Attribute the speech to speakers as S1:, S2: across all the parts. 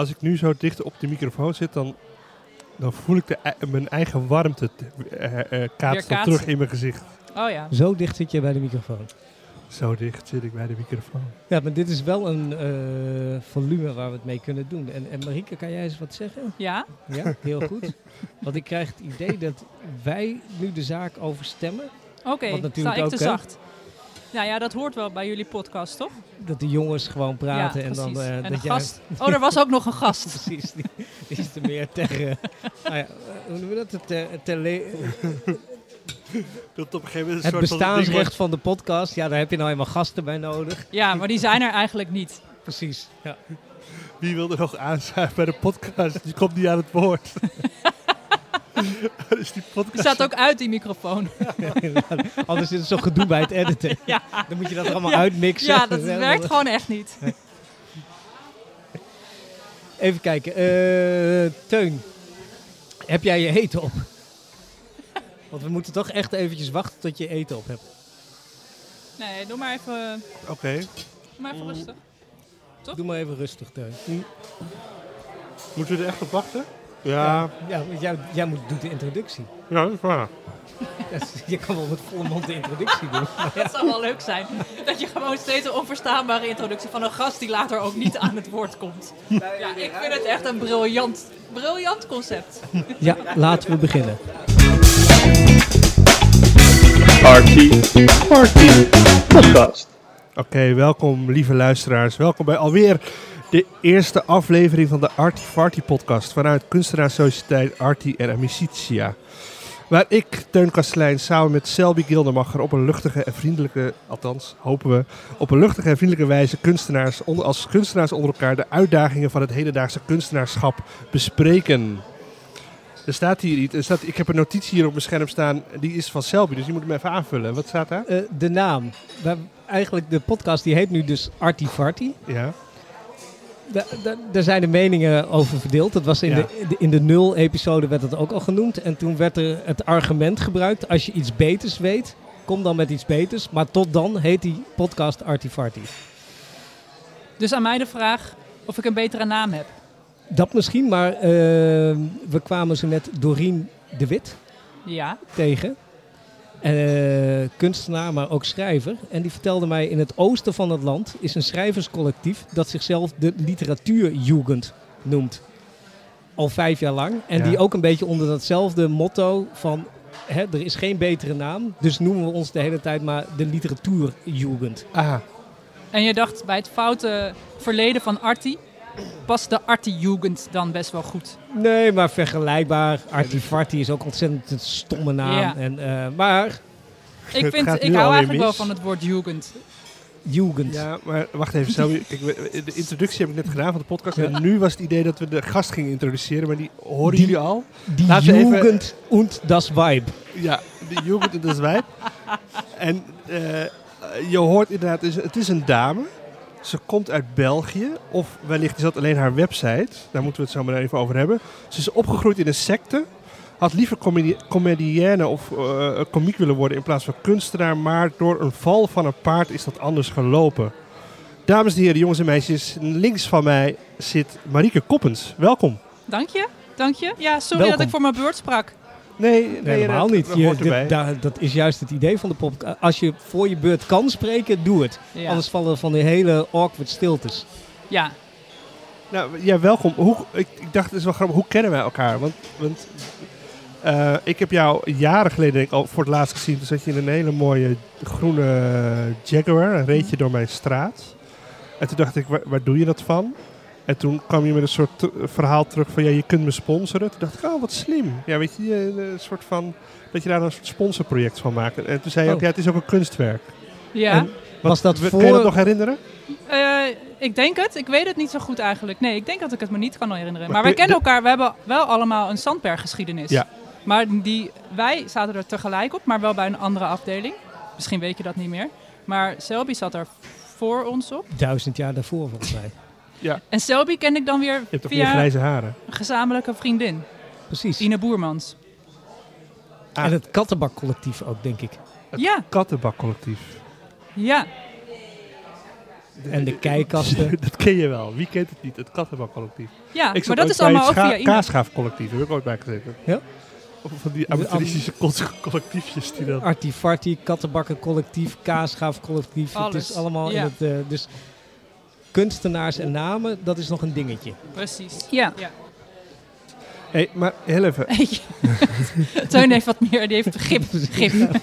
S1: Als ik nu zo dicht op de microfoon zit, dan, dan voel ik de, ei- mijn eigen warmte eh, eh, kaatsen
S2: kaatsen.
S1: terug in mijn gezicht.
S2: Oh ja.
S3: Zo dicht zit je bij de microfoon.
S1: Zo dicht zit ik bij de microfoon.
S3: Ja, maar dit is wel een eh, volume waar we het mee kunnen doen. En, en Marieke, kan jij eens wat zeggen?
S2: Ja?
S3: Ja, heel goed. Want ik krijg het idee dat wij nu de zaak overstemmen.
S2: Oké,
S3: Wat
S2: sta
S3: natuurlijk
S2: ik
S3: ook,
S2: te
S3: hè?
S2: zacht. Nou ja, dat hoort wel bij jullie podcast, toch?
S3: Dat de jongens gewoon praten
S2: ja,
S3: en dan
S2: precies.
S3: eh,
S2: en
S3: dat
S2: een
S3: jij...
S2: gast. Oh, er was ook nog een gast.
S3: Precies, die, die is er meer ter... eh, nou ja, eh, hoe noemen we dat? Het, eh, het tele-
S1: Dat op een gegeven moment
S3: het bestaansrecht van de podcast. Ja, daar heb je nou helemaal gasten bij nodig.
S2: Ja, maar die zijn er eigenlijk niet.
S3: Precies. Ja.
S1: Wie wil er nog aanschuiven bij de podcast? Die komt niet aan het woord. dus die
S2: Die
S1: podcast...
S2: staat ook uit, die microfoon.
S3: Anders is het zo'n gedoe bij het editen.
S2: Ja.
S3: Dan moet je dat er allemaal
S2: Ja.
S3: uitmixen.
S2: Ja, dat
S3: is helemaal-
S2: werkt gewoon echt niet.
S3: Even kijken. eh, Teun, heb jij je eten op? Want we moeten toch echt eventjes wachten tot je eten op hebt.
S2: Nee, doe maar even,
S1: Oké.
S2: doe maar even rustig.
S3: Doe maar even rustig, Teun.
S1: Moeten we er echt op wachten? Ja.
S3: Ja, want jij, jij moet, doet de introductie.
S1: Ja, dat is waar.
S3: Dat is- Je kan wel met volle mond de introductie doen.
S2: Dat zou wel leuk zijn. Dat je gewoon steeds een onverstaanbare introductie van een gast die later ook niet aan het woord komt. Ja, ik vind het echt een briljant, briljant concept.
S3: Ja, laten we beginnen.
S4: Archie, Archie Podcast.
S1: Oké, welkom lieve luisteraars. Welkom bij alweer de eerste aflevering van de Artie Farty podcast vanuit kunstenaarssociëteit Artie en Amicitia. Waar ik, Teun Kastelein, samen met Selby Gildermacher op een luchtige en vriendelijke, althans hopen we, op een luchtige en vriendelijke wijze kunstenaars onder, als kunstenaars onder elkaar de uitdagingen van het hedendaagse kunstenaarschap bespreken. Er staat hier iets, er staat, ik heb een notitie hier op mijn scherm staan, die is van Selby, dus die moet hem even aanvullen. Wat staat daar?
S3: Eh, de naam. Daar- eigenlijk, de podcast die heet nu dus Artifarty.
S1: Ja.
S3: Da- da- Daar zijn de meningen over verdeeld. Dat was in,
S1: Ja.
S3: de, de- in de nul-episode werd dat ook al genoemd. En toen werd er het argument gebruikt: als je iets beters weet, kom dan met iets beters. Maar tot dan heet die podcast Artifarty.
S2: Dus aan mij de vraag of ik een betere naam heb.
S3: Dat misschien, maar eh, we kwamen zo net Dorien de Wit
S2: Ja,
S3: tegen. Eh, kunstenaar, maar ook schrijver. En die vertelde mij: in het oosten van het land is een schrijverscollectief dat zichzelf de literatuurjugend noemt. Al vijf jaar lang. En
S1: Ja.
S3: die ook een beetje onder datzelfde motto van. Hè, er is geen betere naam, dus noemen we ons de hele tijd maar de literatuurjugend.
S1: Ah,
S2: en je dacht bij het foute verleden van Artie past de Artie-jugend dan best wel goed.
S3: Nee, maar vergelijkbaar.
S1: dus-
S3: Artifarti is ook ontzettend een stomme naam.
S2: Ja.
S3: En, eh, maar
S2: Ik,
S1: Het
S2: vind,
S1: gaat nu
S2: ik hou
S1: alweer
S2: eigenlijk wel
S1: mis.
S2: van het woord jugend.
S3: jugend.
S1: Ja, maar wacht even. Stel, kijk, we- we- de introductie heb ik net gedaan van de podcast.
S3: Ja.
S1: En nu was het idee dat we de gast gingen introduceren, maar die horen
S3: Die-
S1: jullie al?
S3: Die
S1: Laten we even-
S3: jugend und das vibe.
S1: Ja, de Jugend en de Zwijp. En eh, je hoort inderdaad, het is- het is een dame. Ze komt uit België, of wellicht is dat alleen haar website. Daar moeten we het zo maar even over hebben. Ze is opgegroeid in een secte. Had liever comedi- comedienne of eh komiek willen worden in plaats van kunstenaar. Maar door een val van een paard is dat anders gelopen. Dames en heren, jongens en meisjes. Links van mij zit Marieke Koppens. Welkom.
S2: Dank je, dank je. Ja, sorry
S3: Welkom.
S2: dat ik voor mijn beurt sprak.
S1: Nee,
S3: Nee, helemaal
S1: dat-
S3: niet.
S1: dat
S3: Je-
S1: hoort
S3: dit-
S1: erbij.
S3: daar- dat is juist het idee van de podcast. Als je voor je beurt kan spreken, doe het.
S2: Ja.
S3: Anders vallen er van die hele awkward stiltes.
S2: Ja,
S1: Nou, ja, welkom. Hoe, ik, ik dacht, het is wel grappig, hoe kennen wij elkaar? Want, want eh, ik heb jou jaren geleden denk ik, al voor het laatst gezien. Toen zat je in een hele mooie groene Jaguar, een
S3: Mhm.
S1: reed je door mijn straat. En toen dacht ik, waar, waar doe je dat van? En toen kwam je met een soort te- verhaal terug van, ja, je kunt me sponsoren. Toen dacht ik, oh, wat slim. Ja, weet je, eh, een soort van, dat je daar een soort sponsorproject van maakt. En toen zei je ook,
S3: Oh.
S1: ja, het is ook een kunstwerk.
S2: ja.
S3: En was dat
S1: We-
S3: voor...
S1: Kun je dat nog herinneren?
S2: Eh, ik denk het. Ik weet het niet zo goed eigenlijk. Nee, ik denk dat ik het me niet kan herinneren.
S1: Maar
S2: Maar wij
S1: kun je-
S2: kennen elkaar. We hebben wel allemaal een Sandberggeschiedenis.
S1: Ja.
S2: Maar die, wij zaten er tegelijk op, maar wel bij een andere afdeling. Misschien weet je dat niet meer. Maar Selby zat er voor ons op.
S3: Duizend jaar daarvoor, volgens mij.
S2: En Selby ken ik dan weer
S1: Je hebt toch meer
S2: via
S1: grijze haren?
S2: een gezamenlijke vriendin,
S3: Precies.
S2: Ine Boermans.
S1: Ah.
S3: En het kattenbakcollectief ook, denk ik.
S1: Het-
S2: Ja,
S1: Kattenbakcollectief.
S2: ja.
S3: en de keikasten.
S1: dat ken je wel. Wie kent het niet? Het Kattenbakcollectief.
S2: Ja,
S1: Ik zat
S2: Ah, maar dat
S1: ooit
S2: is allemaal ook
S1: bij
S2: via
S1: het
S2: e-mail.
S1: Kaasgaafcollectief, heb ik ooit bij gezeten.
S3: Ja?
S1: Of Van die
S3: Am-
S1: amateuristische kot- collectiefjes die dan...
S3: Artifarti, kattenbakken collectief, kaasgaaf collectief. Het
S2: Alles,
S3: is allemaal
S2: ja.
S3: in het... eh, dus kunstenaars en namen, dat is nog een dingetje.
S2: Precies.
S5: Ja.
S2: Ja.
S1: hey, maar heel even.
S2: Teun heeft wat meer, die heeft begrip. begrip.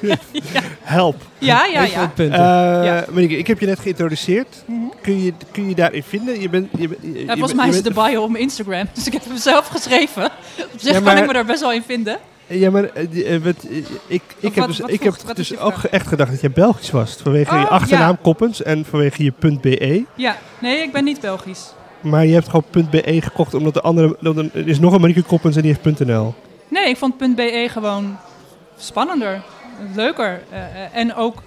S1: Help.
S2: Ja, ja,
S3: Even
S2: ja.
S3: wat punten.
S1: Eh,
S2: Ja. Mhm.
S1: Marieke, ik heb je net geïntroduceerd. Kun je, kun je daarin vinden? Je bent, je, bent- je,
S2: Ja, volgens
S1: bent-
S2: mij
S1: je
S2: is het
S1: bent-
S2: de bio op mijn Instagram, dus ik heb hem zelf geschreven. Op zich
S1: Ja, maar-
S2: kan ik me daar best wel in vinden.
S1: Ja, maar eh, die, eh, wat, eh, ik, ik heb
S2: wat-
S1: dus,
S2: wat
S1: ik
S2: vroeg-
S1: heb
S2: wat
S1: dus
S2: is je
S1: ook
S2: vraag?
S1: echt gedacht dat jij Belgisch was. Vanwege je
S2: Oh,
S1: achternaam
S2: ja.
S1: Koppens en vanwege je E. .be.
S2: Ja, nee, ik ben niet Belgisch. Maar
S1: Maar je hebt gewoon .be gekocht omdat de andere... dan- dan- Er is nog een Marieke Koppens en die heeft .nl.
S2: Nee, ik vond .be gewoon spannender, leuker eh, eh, en ook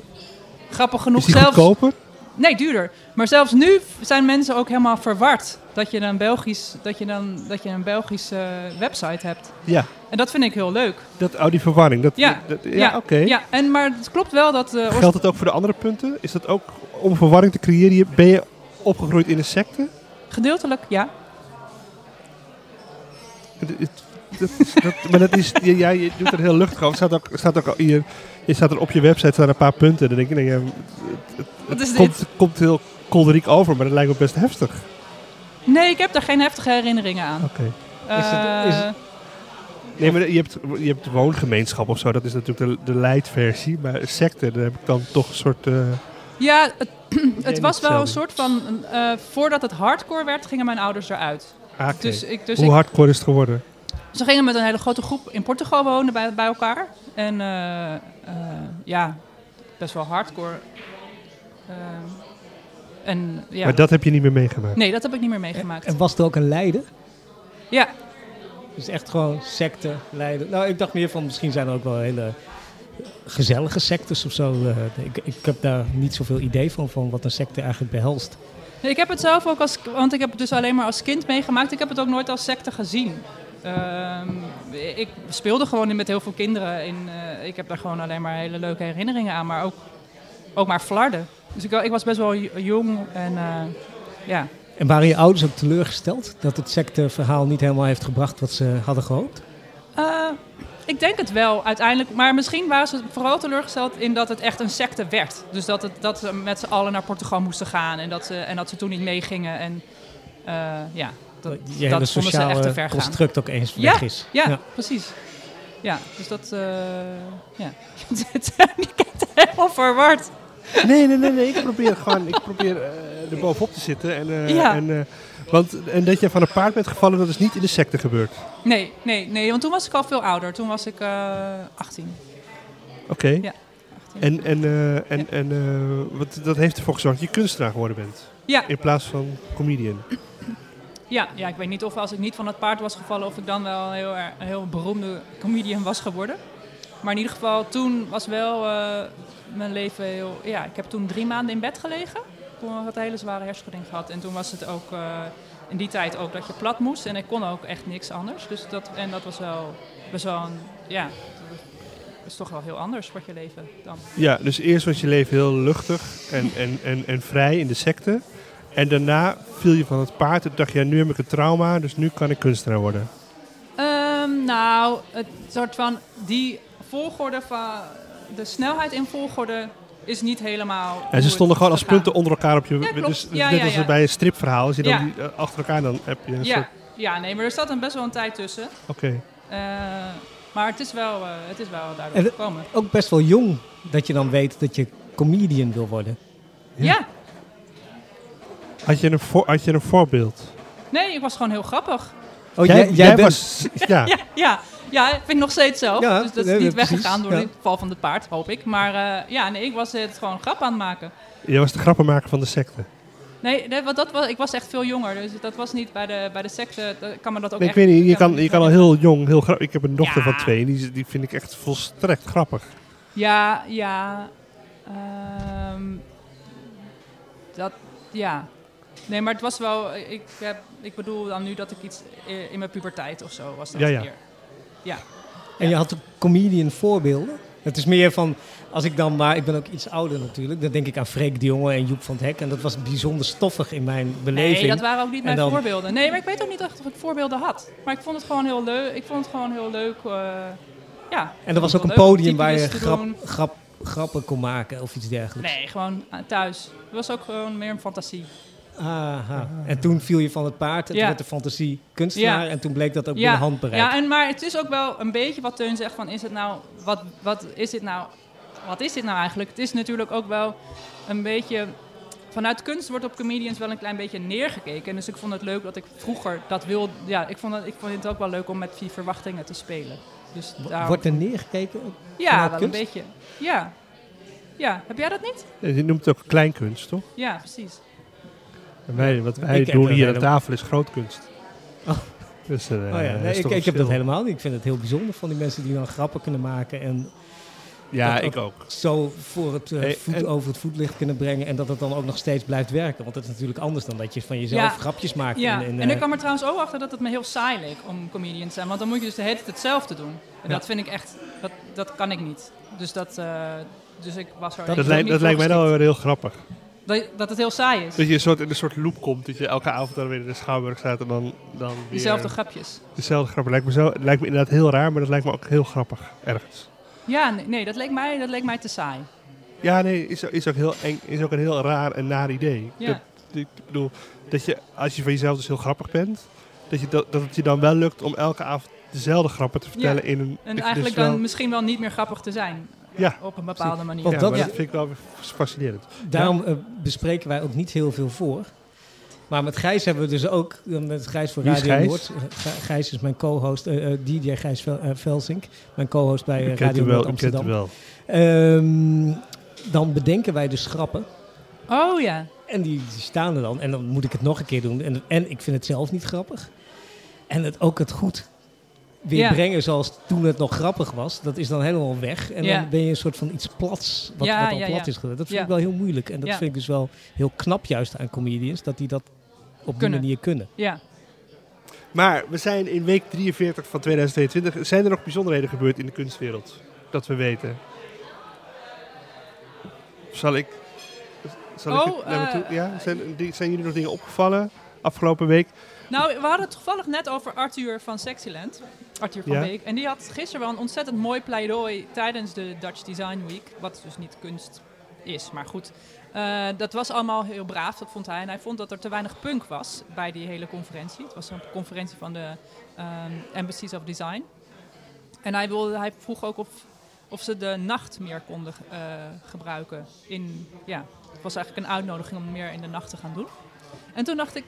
S2: grappig
S1: Is
S2: genoeg
S1: die
S2: zelfs...
S1: goedkoper?
S2: Nee, duurder. Maar zelfs nu f- zijn mensen ook helemaal verward dat je een, Belgisch, dat je dan, dat je een Belgische eh, website hebt.
S1: Ja.
S2: En dat vind ik heel leuk.
S1: Dat, oh, die verwarring. Dat,
S2: Ja.
S1: dat- ja,
S2: Ja.
S1: oké.
S2: Ja, en, maar het klopt wel dat... eh, oorspronkelijk-
S1: Geldt het ook voor de andere punten? Is dat ook om verwarring te creëren? Je- Ben je opgegroeid in een secte?
S2: Gedeeltelijk, ja.
S1: Het- het- dat- dat- maar dat is, je- ja, je doet er heel luchtig over. Staat ook, staat ook al hier, je staat er op je website staan een paar punten. Dan denk je, nee, ja, het, het-
S2: Wat
S1: het
S2: is
S1: komt, komt heel kolderiek over, maar dat lijkt me best heftig.
S2: Nee, ik heb daar geen heftige herinneringen aan.
S1: Oké.
S3: Is het- is
S2: Eh,
S1: Nee, maar je hebt, je hebt woongemeenschap of zo. Dat is natuurlijk de, de leidversie. Maar secte, daar heb ik dan toch een soort... eh,
S2: Ja, het, het
S1: niet
S2: was wel een
S1: hetzelfde.
S2: soort van... eh, voordat het hardcore werd, gingen mijn ouders eruit.
S1: haak in.
S2: Dus, ik, dus
S1: Hoe
S2: ik,
S1: hardcore is het geworden?
S2: ze gingen met een hele grote groep in Portugal wonen bij, bij elkaar. En eh, eh, ja, best wel hardcore. Ehm, en ja...
S1: Maar dat heb je niet meer meegemaakt.
S2: Nee, dat heb ik niet meer meegemaakt.
S3: En was er ook een leider?
S2: Ja,
S3: Dus echt gewoon secte, leider. Nou, ik dacht meer van misschien zijn er ook wel hele gezellige sectes of zo. Eh, Ik, ik heb daar niet zoveel idee van, van wat een secte eigenlijk behelst.
S2: ik heb het zelf ook als... Want ik heb het dus alleen maar als kind meegemaakt. Ik heb het ook nooit als secte gezien. Ehm, ik speelde gewoon in- met heel veel kinderen. In, eh, ik heb daar gewoon alleen maar hele leuke herinneringen aan. Maar ook, ook maar flarden. Dus ik, wa- ik was best wel j- jong en... eh, ja.
S3: En waren je ouders ook teleurgesteld dat het secteverhaal niet helemaal heeft gebracht wat ze hadden gehoopt?
S2: Eh, ik denk het wel uiteindelijk. Maar misschien waren ze vooral teleurgesteld in dat het echt een secte werd. Dus dat, het, dat ze met z'n allen naar Portugal moesten gaan. En dat ze, en dat ze toen niet meegingen. En eh, ja, dat,
S3: je hele
S2: dat vonden ze echt te
S3: sociale
S2: ver gaan.
S3: construct ook eens
S2: Ja,
S3: weg is.
S2: Ja, precies. Ja, dus dat... eh ja. Die kijkt helemaal verward.
S1: Nee, nee, nee, nee. Ik probeer gewoon, ik probeer eh, er bovenop te zitten. En, eh,
S2: Ja.
S1: en, eh, want, en dat je van een paard bent gevallen, dat is niet in de secte gebeurd.
S2: Nee, nee, nee. Want toen was ik al veel ouder. Toen was ik eh 18.
S1: Oké.
S2: Ja.
S1: En, en, eh, en, en eh, wat, dat heeft ervoor gezorgd dat je kunstenaar geworden bent.
S2: Ja.
S1: In plaats van comedian.
S2: Ja, ja, ik weet niet of als ik niet van het paard was gevallen, of ik dan wel een heel, erg- een heel beroemde comedian was geworden. Maar in ieder geval, toen was wel eh, mijn leven heel. Ja, ik heb toen drie maanden in bed gelegen. Toen had ik een hele zware hersenschudding gehad. En toen was het ook eh, in die tijd ook dat je plat moest. En ik kon ook echt niks anders. Dus dat, en dat was wel best wel een. Ja, dat is toch wel heel anders wat je leven dan.
S1: Ja, dus eerst was je leven heel luchtig en, en, en, en vrij in de secte. En daarna viel je van het paard en dacht je, ja, nu heb ik een trauma, dus nu kan ik kunstenaar worden.
S2: Ehm, nou, het soort van die volgorde van de snelheid in volgorde is niet helemaal. hoe
S1: En ze
S2: het
S1: stonden gewoon als
S2: gegaan.
S1: punten onder elkaar op je...
S2: Ja, klopt.
S1: dus
S2: Ja,
S1: net
S2: ja,
S1: als
S2: ja.
S1: bij een stripverhaal, als je dan
S2: Ja.
S1: die, eh, achter elkaar dan heb je een soort...
S2: Ja, ja, nee, maar er zat een best wel een tijd tussen.
S1: Oké.
S2: Eh, maar het is wel, eh, het is wel daardoor
S3: En de-
S2: gekomen.
S3: Ook best wel jong dat je dan weet dat je comedian wil worden.
S1: Ja.
S2: Ja.
S1: Had je een, voor, had je een voorbeeld?
S2: nee, ik was gewoon heel grappig.
S3: Oh, bent-
S1: was. Ja.
S2: Ja, ja, ja, vind ik nog steeds zelf.
S3: Ja,
S2: dus dat
S3: nee,
S2: is niet
S3: precies,
S2: weggegaan door
S3: ja.
S2: de val van het paard, hoop ik. Maar eh, ja, nee, ik was het gewoon grap aan het maken.
S1: Jij was de grappenmaker van de secte.
S2: Nee, dat, want dat was, ik was echt veel jonger, dus dat was niet bij de, bij de secte. dat- kan me dat ook
S1: Nee, ik
S2: echt
S1: weet niet, je kan,
S2: kan-
S1: je kan al heel jong, heel grappig. Ik heb een dochter
S2: Ja.
S1: van twee en die, die vind ik echt volstrekt grappig.
S2: Ja, ja. ehm, dat, ja. Nee, maar het was wel... Ik, heb, ik bedoel dan nu dat ik iets i- in mijn puberteit of zo was dat
S1: Ja, ja.
S2: meer.
S3: En je had ook comedian voorbeelden? Het is meer van, als ik dan maar, ik ben ook iets ouder natuurlijk, dan denk ik aan Freek de Jonge en Joep van het Hek. En dat was bijzonder stoffig in mijn beleving.
S2: Nee, dat waren ook niet
S3: En
S2: mijn
S3: dan-
S2: voorbeelden. Nee, maar ik weet ook niet echt of ik voorbeelden had. Maar ik vond het gewoon heel leuk. Ik vond het gewoon heel leuk. eh, ja.
S3: en er was ook een
S2: Leuk
S3: podium
S2: om
S3: waar je
S2: typetjes te
S3: grap,
S2: doen.
S3: grap, grappen kon maken of iets dergelijks.
S2: Nee, gewoon eh, thuis. Het was ook gewoon meer een fantasie.
S3: Aha. En toen viel je van het paard en
S2: Ja.
S3: toen werd de fantasie kunstenaar.
S2: Ja.
S3: En toen bleek dat ook binnen handbereik.
S2: Ja, en, maar het is ook wel een beetje wat Teun zegt van is het nou, wat, wat is dit nou, wat is dit nou eigenlijk? Het is natuurlijk ook wel een beetje, vanuit kunst wordt op comedians wel een klein beetje neergekeken. Dus ik vond het leuk dat ik vroeger dat wilde, ja, ik vond, het, ik vond het ook wel leuk om met vier verwachtingen te spelen. Dus
S3: Wo-
S2: daarom-
S3: Wordt er neergekeken?
S2: ja, wel een
S3: kunst?
S2: beetje. Ja. ja, heb jij dat niet?
S1: Eh, Je noemt het ook kleinkunst, toch?
S2: Ja, precies.
S1: En wij, wat wij
S3: Ik heb
S1: doen
S3: dat
S1: hier aan
S3: helemaal-
S1: tafel is grootkunst.
S3: Oh.
S1: Dus, eh,
S3: Oh ja,
S1: is
S3: nee,
S1: toch
S3: ik, ik
S1: een
S3: heb dat
S1: verschil.
S3: helemaal niet. Ik vind het heel bijzonder van die mensen die dan grappen kunnen maken en
S1: Ja,
S3: dat
S1: ik ook.
S3: zo voor het, eh,
S1: Hey,
S3: voet,
S1: en-
S3: over het voetlicht kunnen brengen en dat het dan ook nog steeds blijft werken. Want dat is natuurlijk anders dan dat je van jezelf
S2: Ja.
S3: grapjes maakt.
S2: Ja,
S3: en, en,
S2: en
S3: eh,
S2: ik kwam er trouwens ook achter dat het me heel saai leek om comedian te zijn. Want dan moet je dus de hele tijd hetzelfde doen. En
S3: Ja.
S2: dat vind ik echt, dat, dat kan ik niet. Dus dat, eh, dus ik was er
S3: Dat
S1: Dat,
S2: niet
S1: lijkt,
S2: voor
S1: dat lijkt mij nou
S2: geschikt.
S1: weer heel grappig.
S2: Dat, dat het heel saai is.
S1: Dat je een soort, in een soort loop komt. Dat je elke avond dan weer in de schouwburg staat en dan, dan weer
S2: Diezelfde grapjes.
S1: dezelfde grap. Lijkt me, zo, lijkt me inderdaad heel raar, maar dat lijkt me ook heel grappig ergens.
S2: Ja, nee, nee, dat, leek mij, dat leek mij te saai.
S1: Ja, nee, is, is, ook, heel eng, is ook een heel raar en naar idee.
S2: Ja.
S1: Dat, ik bedoel, dat je, als je van jezelf dus heel grappig bent, dat, je, dat, dat het je dan wel lukt om elke avond dezelfde grappen te vertellen in een...
S2: En
S1: dus
S2: eigenlijk
S1: wel-
S2: dan misschien wel niet meer grappig te zijn.
S1: Ja.
S2: Op een bepaalde manier.
S3: Want
S1: ja,
S3: dat-
S1: maar
S3: ja.
S1: dat vind ik wel weer fascinerend.
S3: Daarom eh, bespreken wij ook niet heel veel voor. Maar met Gijs hebben we dus ook, eh, met Gijs voor
S1: Wie is
S3: Radio
S1: Gijs?
S3: Noord. Eh, Gij- Gijs is mijn co-host, eh, eh, DJ Gijs Vel- eh, Velsink, mijn co-host bij eh,
S1: Ik kent
S3: Radio
S1: u
S3: Noord
S1: wel, ik kent u
S3: Amsterdam.
S1: wel.
S3: Ehm, dan bedenken wij dus grappen.
S2: Oh ja.
S3: En die, die staan er dan. En dan moet ik het nog een keer doen. En, en ik vind het zelf niet grappig. En het, ook het goed weer
S2: Ja.
S3: brengen zoals toen het nog grappig was. Dat is dan helemaal weg. En
S2: Ja.
S3: dan ben je een soort van iets plats. Wat,
S2: Ja,
S3: wat al
S2: ja,
S3: plat
S2: ja.
S3: is geworden. Dat vind
S2: Ja.
S3: ik wel heel moeilijk. En dat
S2: Ja.
S3: vind ik dus wel heel knap juist aan comedians. Dat die dat op die
S2: Kunnen.
S3: manier kunnen.
S2: Ja.
S1: Maar we zijn in week 43 van 2022. Zijn er nog bijzonderheden gebeurd in de kunstwereld? Dat we weten. Zal ik... Zal ik
S2: Oh,
S1: het naar me
S2: eh,
S1: toe? Ja? Zijn, die- zijn jullie nog dingen opgevallen afgelopen week?
S2: Nou, we hadden het toevallig net over Arthur van Sexyland. Arthur van
S1: Ja.
S2: Beek. En die had gisteren wel een ontzettend mooi pleidooi tijdens de Dutch Design Week. Wat dus niet kunst is, maar goed. Eh, dat was allemaal heel braaf, dat vond hij. En hij vond dat er te weinig punk was bij die hele conferentie. Het was een conferentie van de ehm, Embassies of Design. En hij, wilde, hij vroeg ook of, of ze de nacht meer konden eh, gebruiken. In, ja, het was eigenlijk een uitnodiging om meer in de nacht te gaan doen. En toen dacht ik,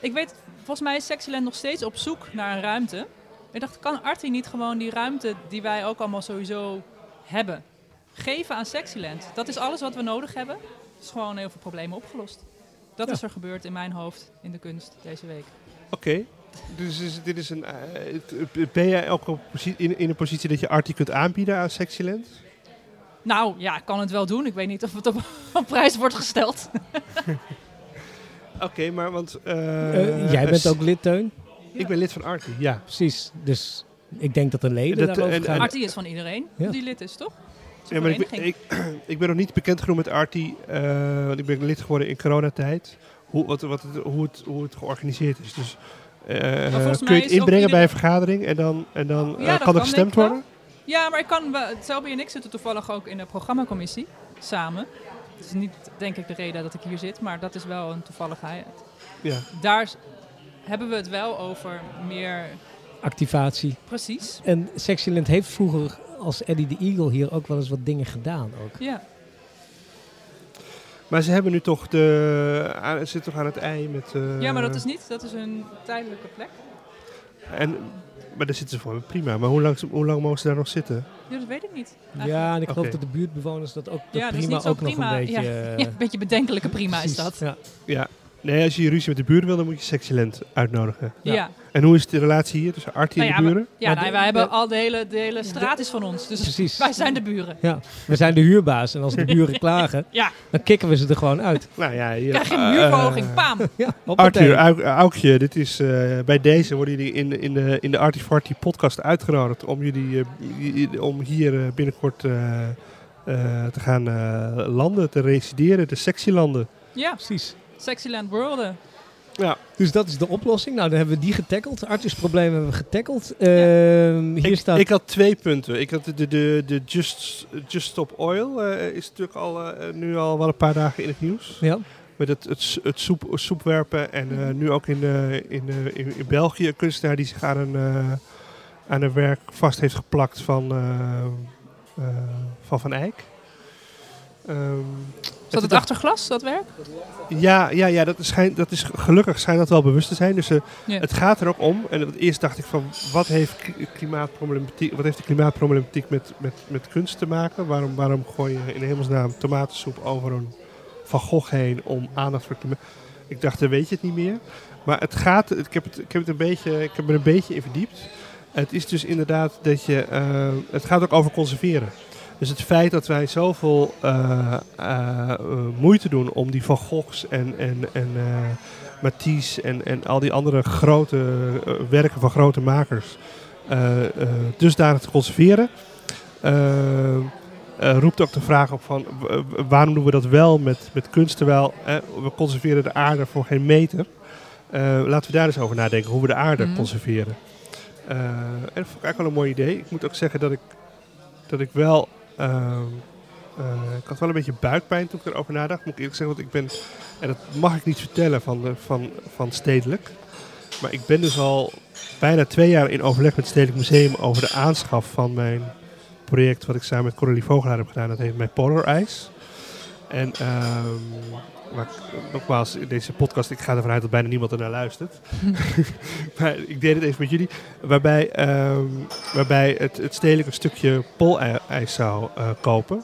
S2: ik weet, volgens mij is Sexyland nog steeds op zoek naar een ruimte. Ik dacht, kan Artie niet gewoon die ruimte die wij ook allemaal sowieso hebben, geven aan Sexyland? Dat is alles wat we nodig hebben. Het is gewoon heel veel problemen opgelost. Dat
S3: Ja.
S2: is er gebeurd in mijn hoofd in de kunst deze week.
S1: Oké. Dus is- dit is een... eh, het- ben jij ook op posi- in, in een positie dat je Artie kunt aanbieden aan Sexyland?
S2: Nou ja, ik kan het wel doen. Ik weet niet of het op, op prijs wordt gesteld.
S1: Oké, maar want... eh, dus-
S3: Eh, jij bent
S1: s-
S3: ook lid, Teun.
S1: Ik ben lid van Artie, ja.
S3: Precies. Dus ik denk dat de leden
S1: Dat, eh,
S3: daarover
S1: en-
S3: gaan.
S1: en-
S2: Artie is van iedereen
S3: Ja.
S2: die lid is, toch? Het is een
S1: Ja, maar ik, ben-
S2: vereniging.
S1: ik, ik ben nog niet bekend genoeg met Artie, eh, want ik ben lid geworden in coronatijd. Hoe, wat, wat, het- hoe, het, hoe het georganiseerd is. Dus eh,
S2: volgens
S1: kun
S2: mij
S1: je het
S2: is ook
S1: inbrengen bij
S2: iedereen-
S1: een vergadering en dan, en dan eh,
S2: Ja,
S1: kan
S2: dat
S1: er
S2: kan,
S1: gestemd
S2: denk ik
S1: worden?
S2: Ja, maar ik kan, wel- Selby en ik zitten toevallig ook in de programmacommissie samen. Het is niet, denk ik, de reden dat ik hier zit, maar dat is wel een toevalligheid.
S1: Ja.
S2: Daar s- hebben we het wel over meer
S3: Activatie.
S2: precies.
S3: En Sexyland heeft vroeger als Eddie de Eagle hier ook wel eens wat dingen gedaan. Ook.
S2: Ja,
S1: Maar ze hebben nu toch de, aan, ze zitten toch aan het ei met... eh,
S2: ja maar dat is niet, dat is een tijdelijke plek.
S1: En, maar daar zitten ze voor, prima. Maar hoe lang, hoe lang mogen ze daar nog zitten?
S2: Ja, dat weet ik niet. eigenlijk.
S3: Ja, en ik geloof
S1: Oké.
S3: dat de buurtbewoners dat ook dat
S2: Ja, dat is
S3: prima
S2: niet zo
S3: ook nog
S2: prima.
S3: een beetje...
S2: Ja,
S3: eh,
S2: een beetje bedenkelijke prima
S3: precies.
S2: is dat.
S3: Ja.
S1: Ja, Nee, als je ruzie met de buren wil, dan moet je Sexylent uitnodigen.
S3: Ja.
S2: Ja,
S1: En hoe is de relatie hier tussen Artie
S2: Nou
S1: en de
S2: ja,
S1: buren?
S2: ja
S3: Maar
S2: nou,
S3: de-
S2: wij hebben
S3: de-
S2: al de hele, de hele straat is van ons. Dus
S3: Precies.
S2: wij zijn de buren.
S3: Ja, we zijn de huurbaas en als de buren klagen,
S2: Ja,
S3: dan kicken we ze er gewoon uit.
S1: Nou ja, hier,
S2: krijg je
S1: eh,
S2: een huurverhoging. Paam.
S3: Ja, hoppatee.
S1: Arthur, eh. Auk- Aukje, dit is, eh, bij deze worden jullie in, in de, in de Artie Farty podcast uitgenodigd om, jullie, eh, i- i- om hier eh, binnenkort eh, eh, te gaan eh, landen, te resideren, de sexy landen.
S2: Ja,
S3: Precies.
S2: Sexyland Worlden.
S1: Ja,
S3: Dus dat is de oplossing. Nou, dan hebben we die getackeld. Arthur's probleem hebben we getackeld. Ehm, hier
S1: ik,
S3: staat...
S1: ik had twee punten. Ik had de, de, de, de Just, Just Stop Oil eh, is natuurlijk al, eh, nu al wel een paar dagen in het nieuws.
S3: ja.
S1: Met het, het, s- het soep, soepwerpen en eh, nu ook in, eh, in, eh, in, in België een kunstenaar die zich aan een, eh, aan een werk vast heeft geplakt van eh, eh, Van, van Eyck. Ehm,
S2: Zat het
S1: is-
S2: achterglas, dat werk?
S1: Ja, ja, ja dat, is, schijn- dat is gelukkig schijnt dat wel bewust te zijn. Dus eh,
S2: Ja.
S1: het gaat er ook om. En het- eerst dacht ik van wat heeft, k- klimaatproblematiek, wat heeft de klimaatproblematiek met, met, met kunst te maken? Waarom, waarom gooi je in hemelsnaam tomatensoep over een Van Gogh heen om aandacht voor klimaat? Ik dacht, dan weet je het niet meer. Maar het gaat, ik heb, het, ik heb, het een beetje, ik heb er een beetje in verdiept. Het is dus inderdaad dat je, eh, het gaat ook over conserveren. Dus het feit dat wij zoveel eh, eh, eh, moeite doen om die Van Goghs en, en, en eh, Matisse en, en al die andere grote eh, werken van grote makers eh eh dusdanig te conserveren, eh, eh, roept ook de vraag op van w- w- waarom doen we dat wel met, met kunst terwijl eh, we conserveren de aarde voor geen meter. Eh, laten we daar eens over nadenken hoe we de aarde
S2: Mhm.
S1: conserveren. Eh, en dat vond ik eigenlijk wel een mooi idee. Ik moet ook zeggen dat ik, dat ik wel Ehm, eh, ik had wel een beetje buikpijn toen ik erover nadacht, moet ik eerlijk zeggen. Want ik ben, en dat mag ik niet vertellen van, de, van, van Stedelijk. Maar ik ben dus al bijna twee jaar in overleg met Stedelijk Museum over de aanschaf van mijn project. Wat ik samen met Coralie Vogelaar heb gedaan. Dat heet Mijn Polar Ice. En ehm, maar ik- nogmaals, in deze podcast, ik ga ervan uit dat bijna niemand ernaar luistert. maar ik deed het even met jullie. Waarbij, ehm, waarbij het, het stedelijk een stukje poolijs zou eh, kopen.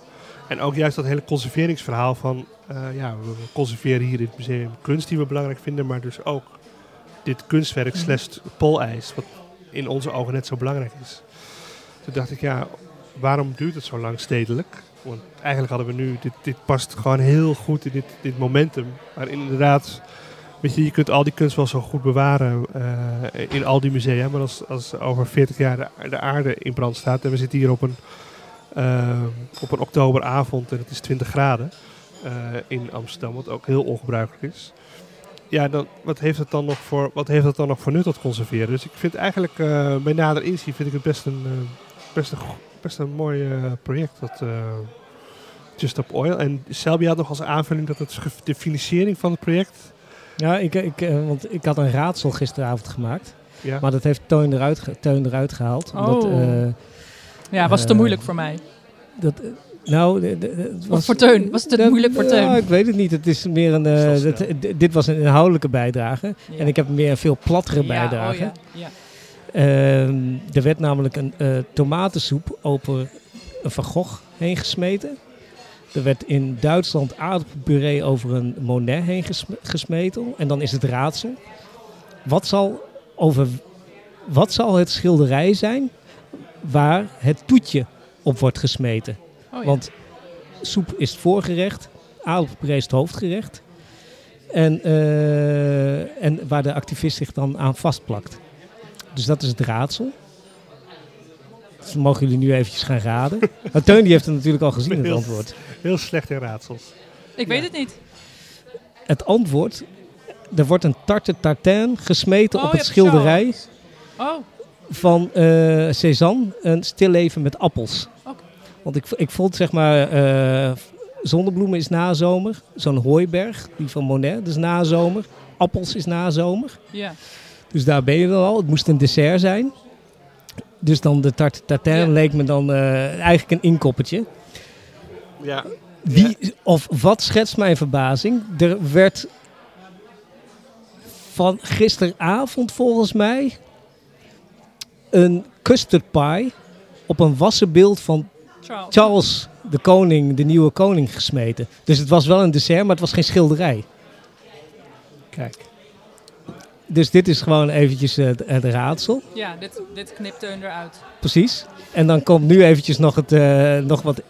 S1: En ook juist dat hele conserveringsverhaal van... eh, ja, we we conserveren hier in het museum kunst die we belangrijk vinden. Maar dus ook dit kunstwerk
S2: Mhm.
S1: slash poolijs. Wat in onze ogen net zo belangrijk is. Toen dacht ik, ja, waarom duurt het zo lang stedelijk? Want eigenlijk hadden we nu, dit, dit past gewoon heel goed in dit, dit momentum. Maar inderdaad, weet je, je kunt al die kunst wel zo goed bewaren eh, in al die musea. Maar als, als over 40 jaar de, de aarde in brand staat en we zitten hier op een, eh, op een oktoberavond en het is 20 graden eh, in Amsterdam, wat ook heel ongebruikelijk is. Ja, dan, wat, heeft het dan nog voor, wat heeft dat dan nog voor nut, dat conserveren? Dus ik vind eigenlijk, eh, bij nader inzien, vind ik het best een, eh, best een, go- best een mooi eh, project, dat eh, Just Up Oil. En Selby had nog als aanvulling dat het ge- de financiering van het project...
S3: Ja, ik, ik, eh, want ik had een raadsel gisteravond gemaakt.
S1: Ja,
S3: Maar dat heeft Teun eruit, ge- Teun eruit gehaald. Omdat,
S2: Oh.
S3: eh,
S2: Ja, was te
S3: Eh,
S2: moeilijk voor mij.
S3: dat, eh, nou, de- de- de- het was,
S2: voor Teun? Was het te
S3: Dat-
S2: moeilijk voor
S3: ja,
S2: Teun?
S3: ik weet het niet. Het is meer een, eh,
S1: Dat is wel
S3: dat- d- dit was een inhoudelijke bijdrage.
S2: Ja.
S3: En ik heb meer een veel plattere bijdrage.
S2: Ja, oh ja, ja.
S3: Ehm, er werd namelijk een eh, tomatensoep over een Van Gogh heen gesmeten. Er werd in Duitsland aardappelpuree over een Monet heen gesme- gesmeten. En dan is het raadsel. Wat zal, over, wat zal het schilderij zijn waar het toetje op wordt gesmeten?
S2: Oh ja.
S3: Want soep is het voorgerecht, aardappelpuree is het hoofdgerecht. En, eh, en waar de activist zich dan aan vastplakt. Dus dat is het raadsel. Dus dan mogen jullie nu eventjes gaan raden. Maar Teun die heeft het natuurlijk al gezien, het
S1: Heel-
S3: antwoord.
S1: heel slecht in raadsels.
S2: ik weet het niet.
S3: Het antwoord, er wordt een tarte tartin gesmeten
S2: Oh,
S3: op
S2: je
S3: het
S2: hebt het zo.
S3: schilderij
S2: Oh,
S3: van eh, Cézanne, een stil leven met appels.
S2: Oké.
S3: Want ik, ik vond zeg maar, eh, zonnebloemen is nazomer, zo'n hooiberg, die van Monet, is nazomer, appels is nazomer.
S2: ja.
S3: Dus daar ben je dan al, het moest een dessert zijn. Dus dan de tarte tartin
S2: Ja.
S3: leek me dan eh, eigenlijk een inkoppertje.
S1: Ja,
S3: Wie, of wat schetst mijn verbazing? Er werd van gisteravond volgens mij een custard pie op een wassenbeeld van
S2: Charles.
S3: Charles de koning, de nieuwe koning, gesmeten. Dus het was wel een dessert, maar het was geen schilderij.
S1: oké.
S3: Kijk. Dus dit is gewoon eventjes eh, het, het raadsel.
S2: Ja, dit, dit knipt Teun eruit.
S3: Precies. En dan komt nu eventjes nog, het, eh, nog wat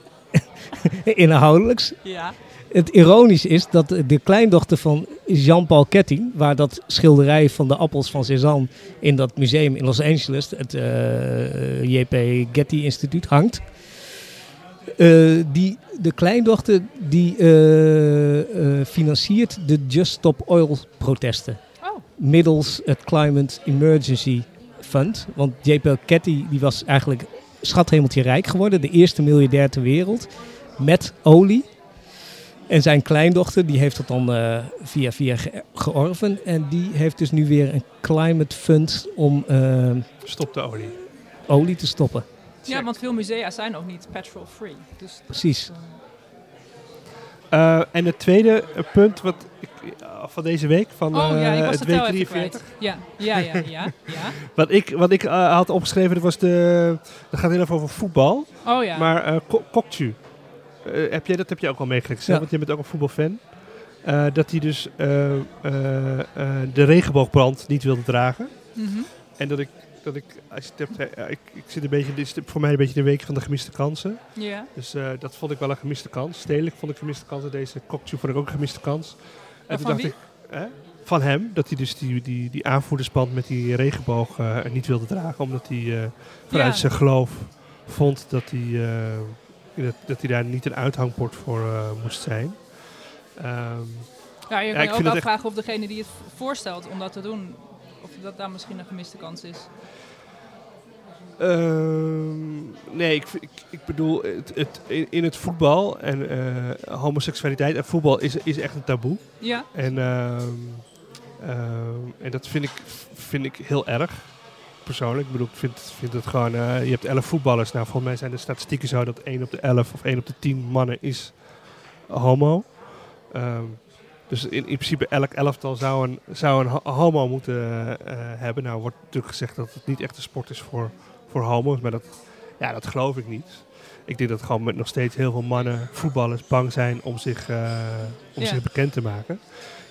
S3: inhoudelijks.
S2: Ja.
S3: Het ironisch is dat de kleindochter van Jean-Paul Ketting, waar dat schilderij van de appels van Cézanne in dat museum in Los Angeles, het eh, JP Getty Instituut, hangt. eh, die, de kleindochter die eh, eh, financiert de Just Stop Oil protesten
S2: Oh,
S3: middels het Climate Emergency Fund. Want JP Ketty die was eigenlijk schathemeltje rijk geworden. De eerste miljardair ter wereld. Met olie. En zijn kleindochter die heeft dat dan eh, via via ge- georven. En die heeft dus nu weer een climate fund om eh,
S1: Stop de olie.
S3: olie te stoppen.
S2: ja, want veel musea zijn nog niet petrol-free. Dus
S3: Precies.
S1: Eh, en het tweede eh, punt wat ik, eh, van deze week, van
S2: oh ja, ik
S1: eh,
S2: was
S1: het
S2: de
S1: week
S2: tel even
S1: 43.
S2: kwijt. Ja, ja, ja, ja, ja.
S1: Wat ik, wat ik eh, had opgeschreven, dat was de. Dat gaat heel even over voetbal.
S2: Oh ja.
S1: Maar eh Ko- Kokcu, eh, heb jij, dat heb je ook al meegekregen, Sam,
S3: Ja.
S1: want je bent ook een voetbalfan. Eh, dat hij dus eh, eh, eh, de regenboogbrand niet wilde dragen.
S2: Mhm.
S1: En dat ik, dat ik, als je het hebt, eh, ik, ik zit een beetje, dit is voor mij een beetje de week van de gemiste kansen.
S2: Ja.
S1: Dus eh, dat vond ik wel een gemiste kans. Stedelijk vond ik een gemiste kans en deze Kokcu vond ik ook een gemiste kans.
S2: En van
S1: dacht
S2: wie?
S1: ik, hè, van hem, dat hij dus die, die, die aanvoerdersband met die regenboog eh, niet wilde dragen. Omdat hij eh, vanuit
S2: Ja.
S1: zijn geloof vond dat hij, eh, dat, dat hij daar niet een uithangbord voor eh, moest zijn. Ehm,
S2: Ja, je
S1: Ja,
S2: kan
S1: ik
S2: je
S1: vind
S2: ook
S1: dat
S2: afvragen of degene die het v- voorstelt om dat te doen, of dat daar misschien een gemiste kans is.
S1: ehm, nee, ik, vind- ik, ik bedoel, het, het, in, in het voetbal en eh, homoseksualiteit en voetbal is, is echt een taboe.
S2: Ja,
S1: En, ehm, ehm, en dat vind ik, vind ik heel erg. Persoonlijk. Ik bedoel, ik vind, vind het gewoon. eh, je hebt 11 voetballers. Nou, volgens mij zijn de statistieken zo dat 1 op de 11 of 1 op de 10 mannen is homo. Ehm, dus in, in principe elk elftal zou een, zou een ho- homo moeten eh, hebben. Nou wordt natuurlijk gezegd dat het niet echt een sport is voor, voor homo's. Maar dat, ja, dat geloof ik niet. Ik denk dat gewoon met nog steeds heel veel mannen, voetballers, bang zijn om zich, eh, om
S2: Ja.
S1: zich bekend te maken.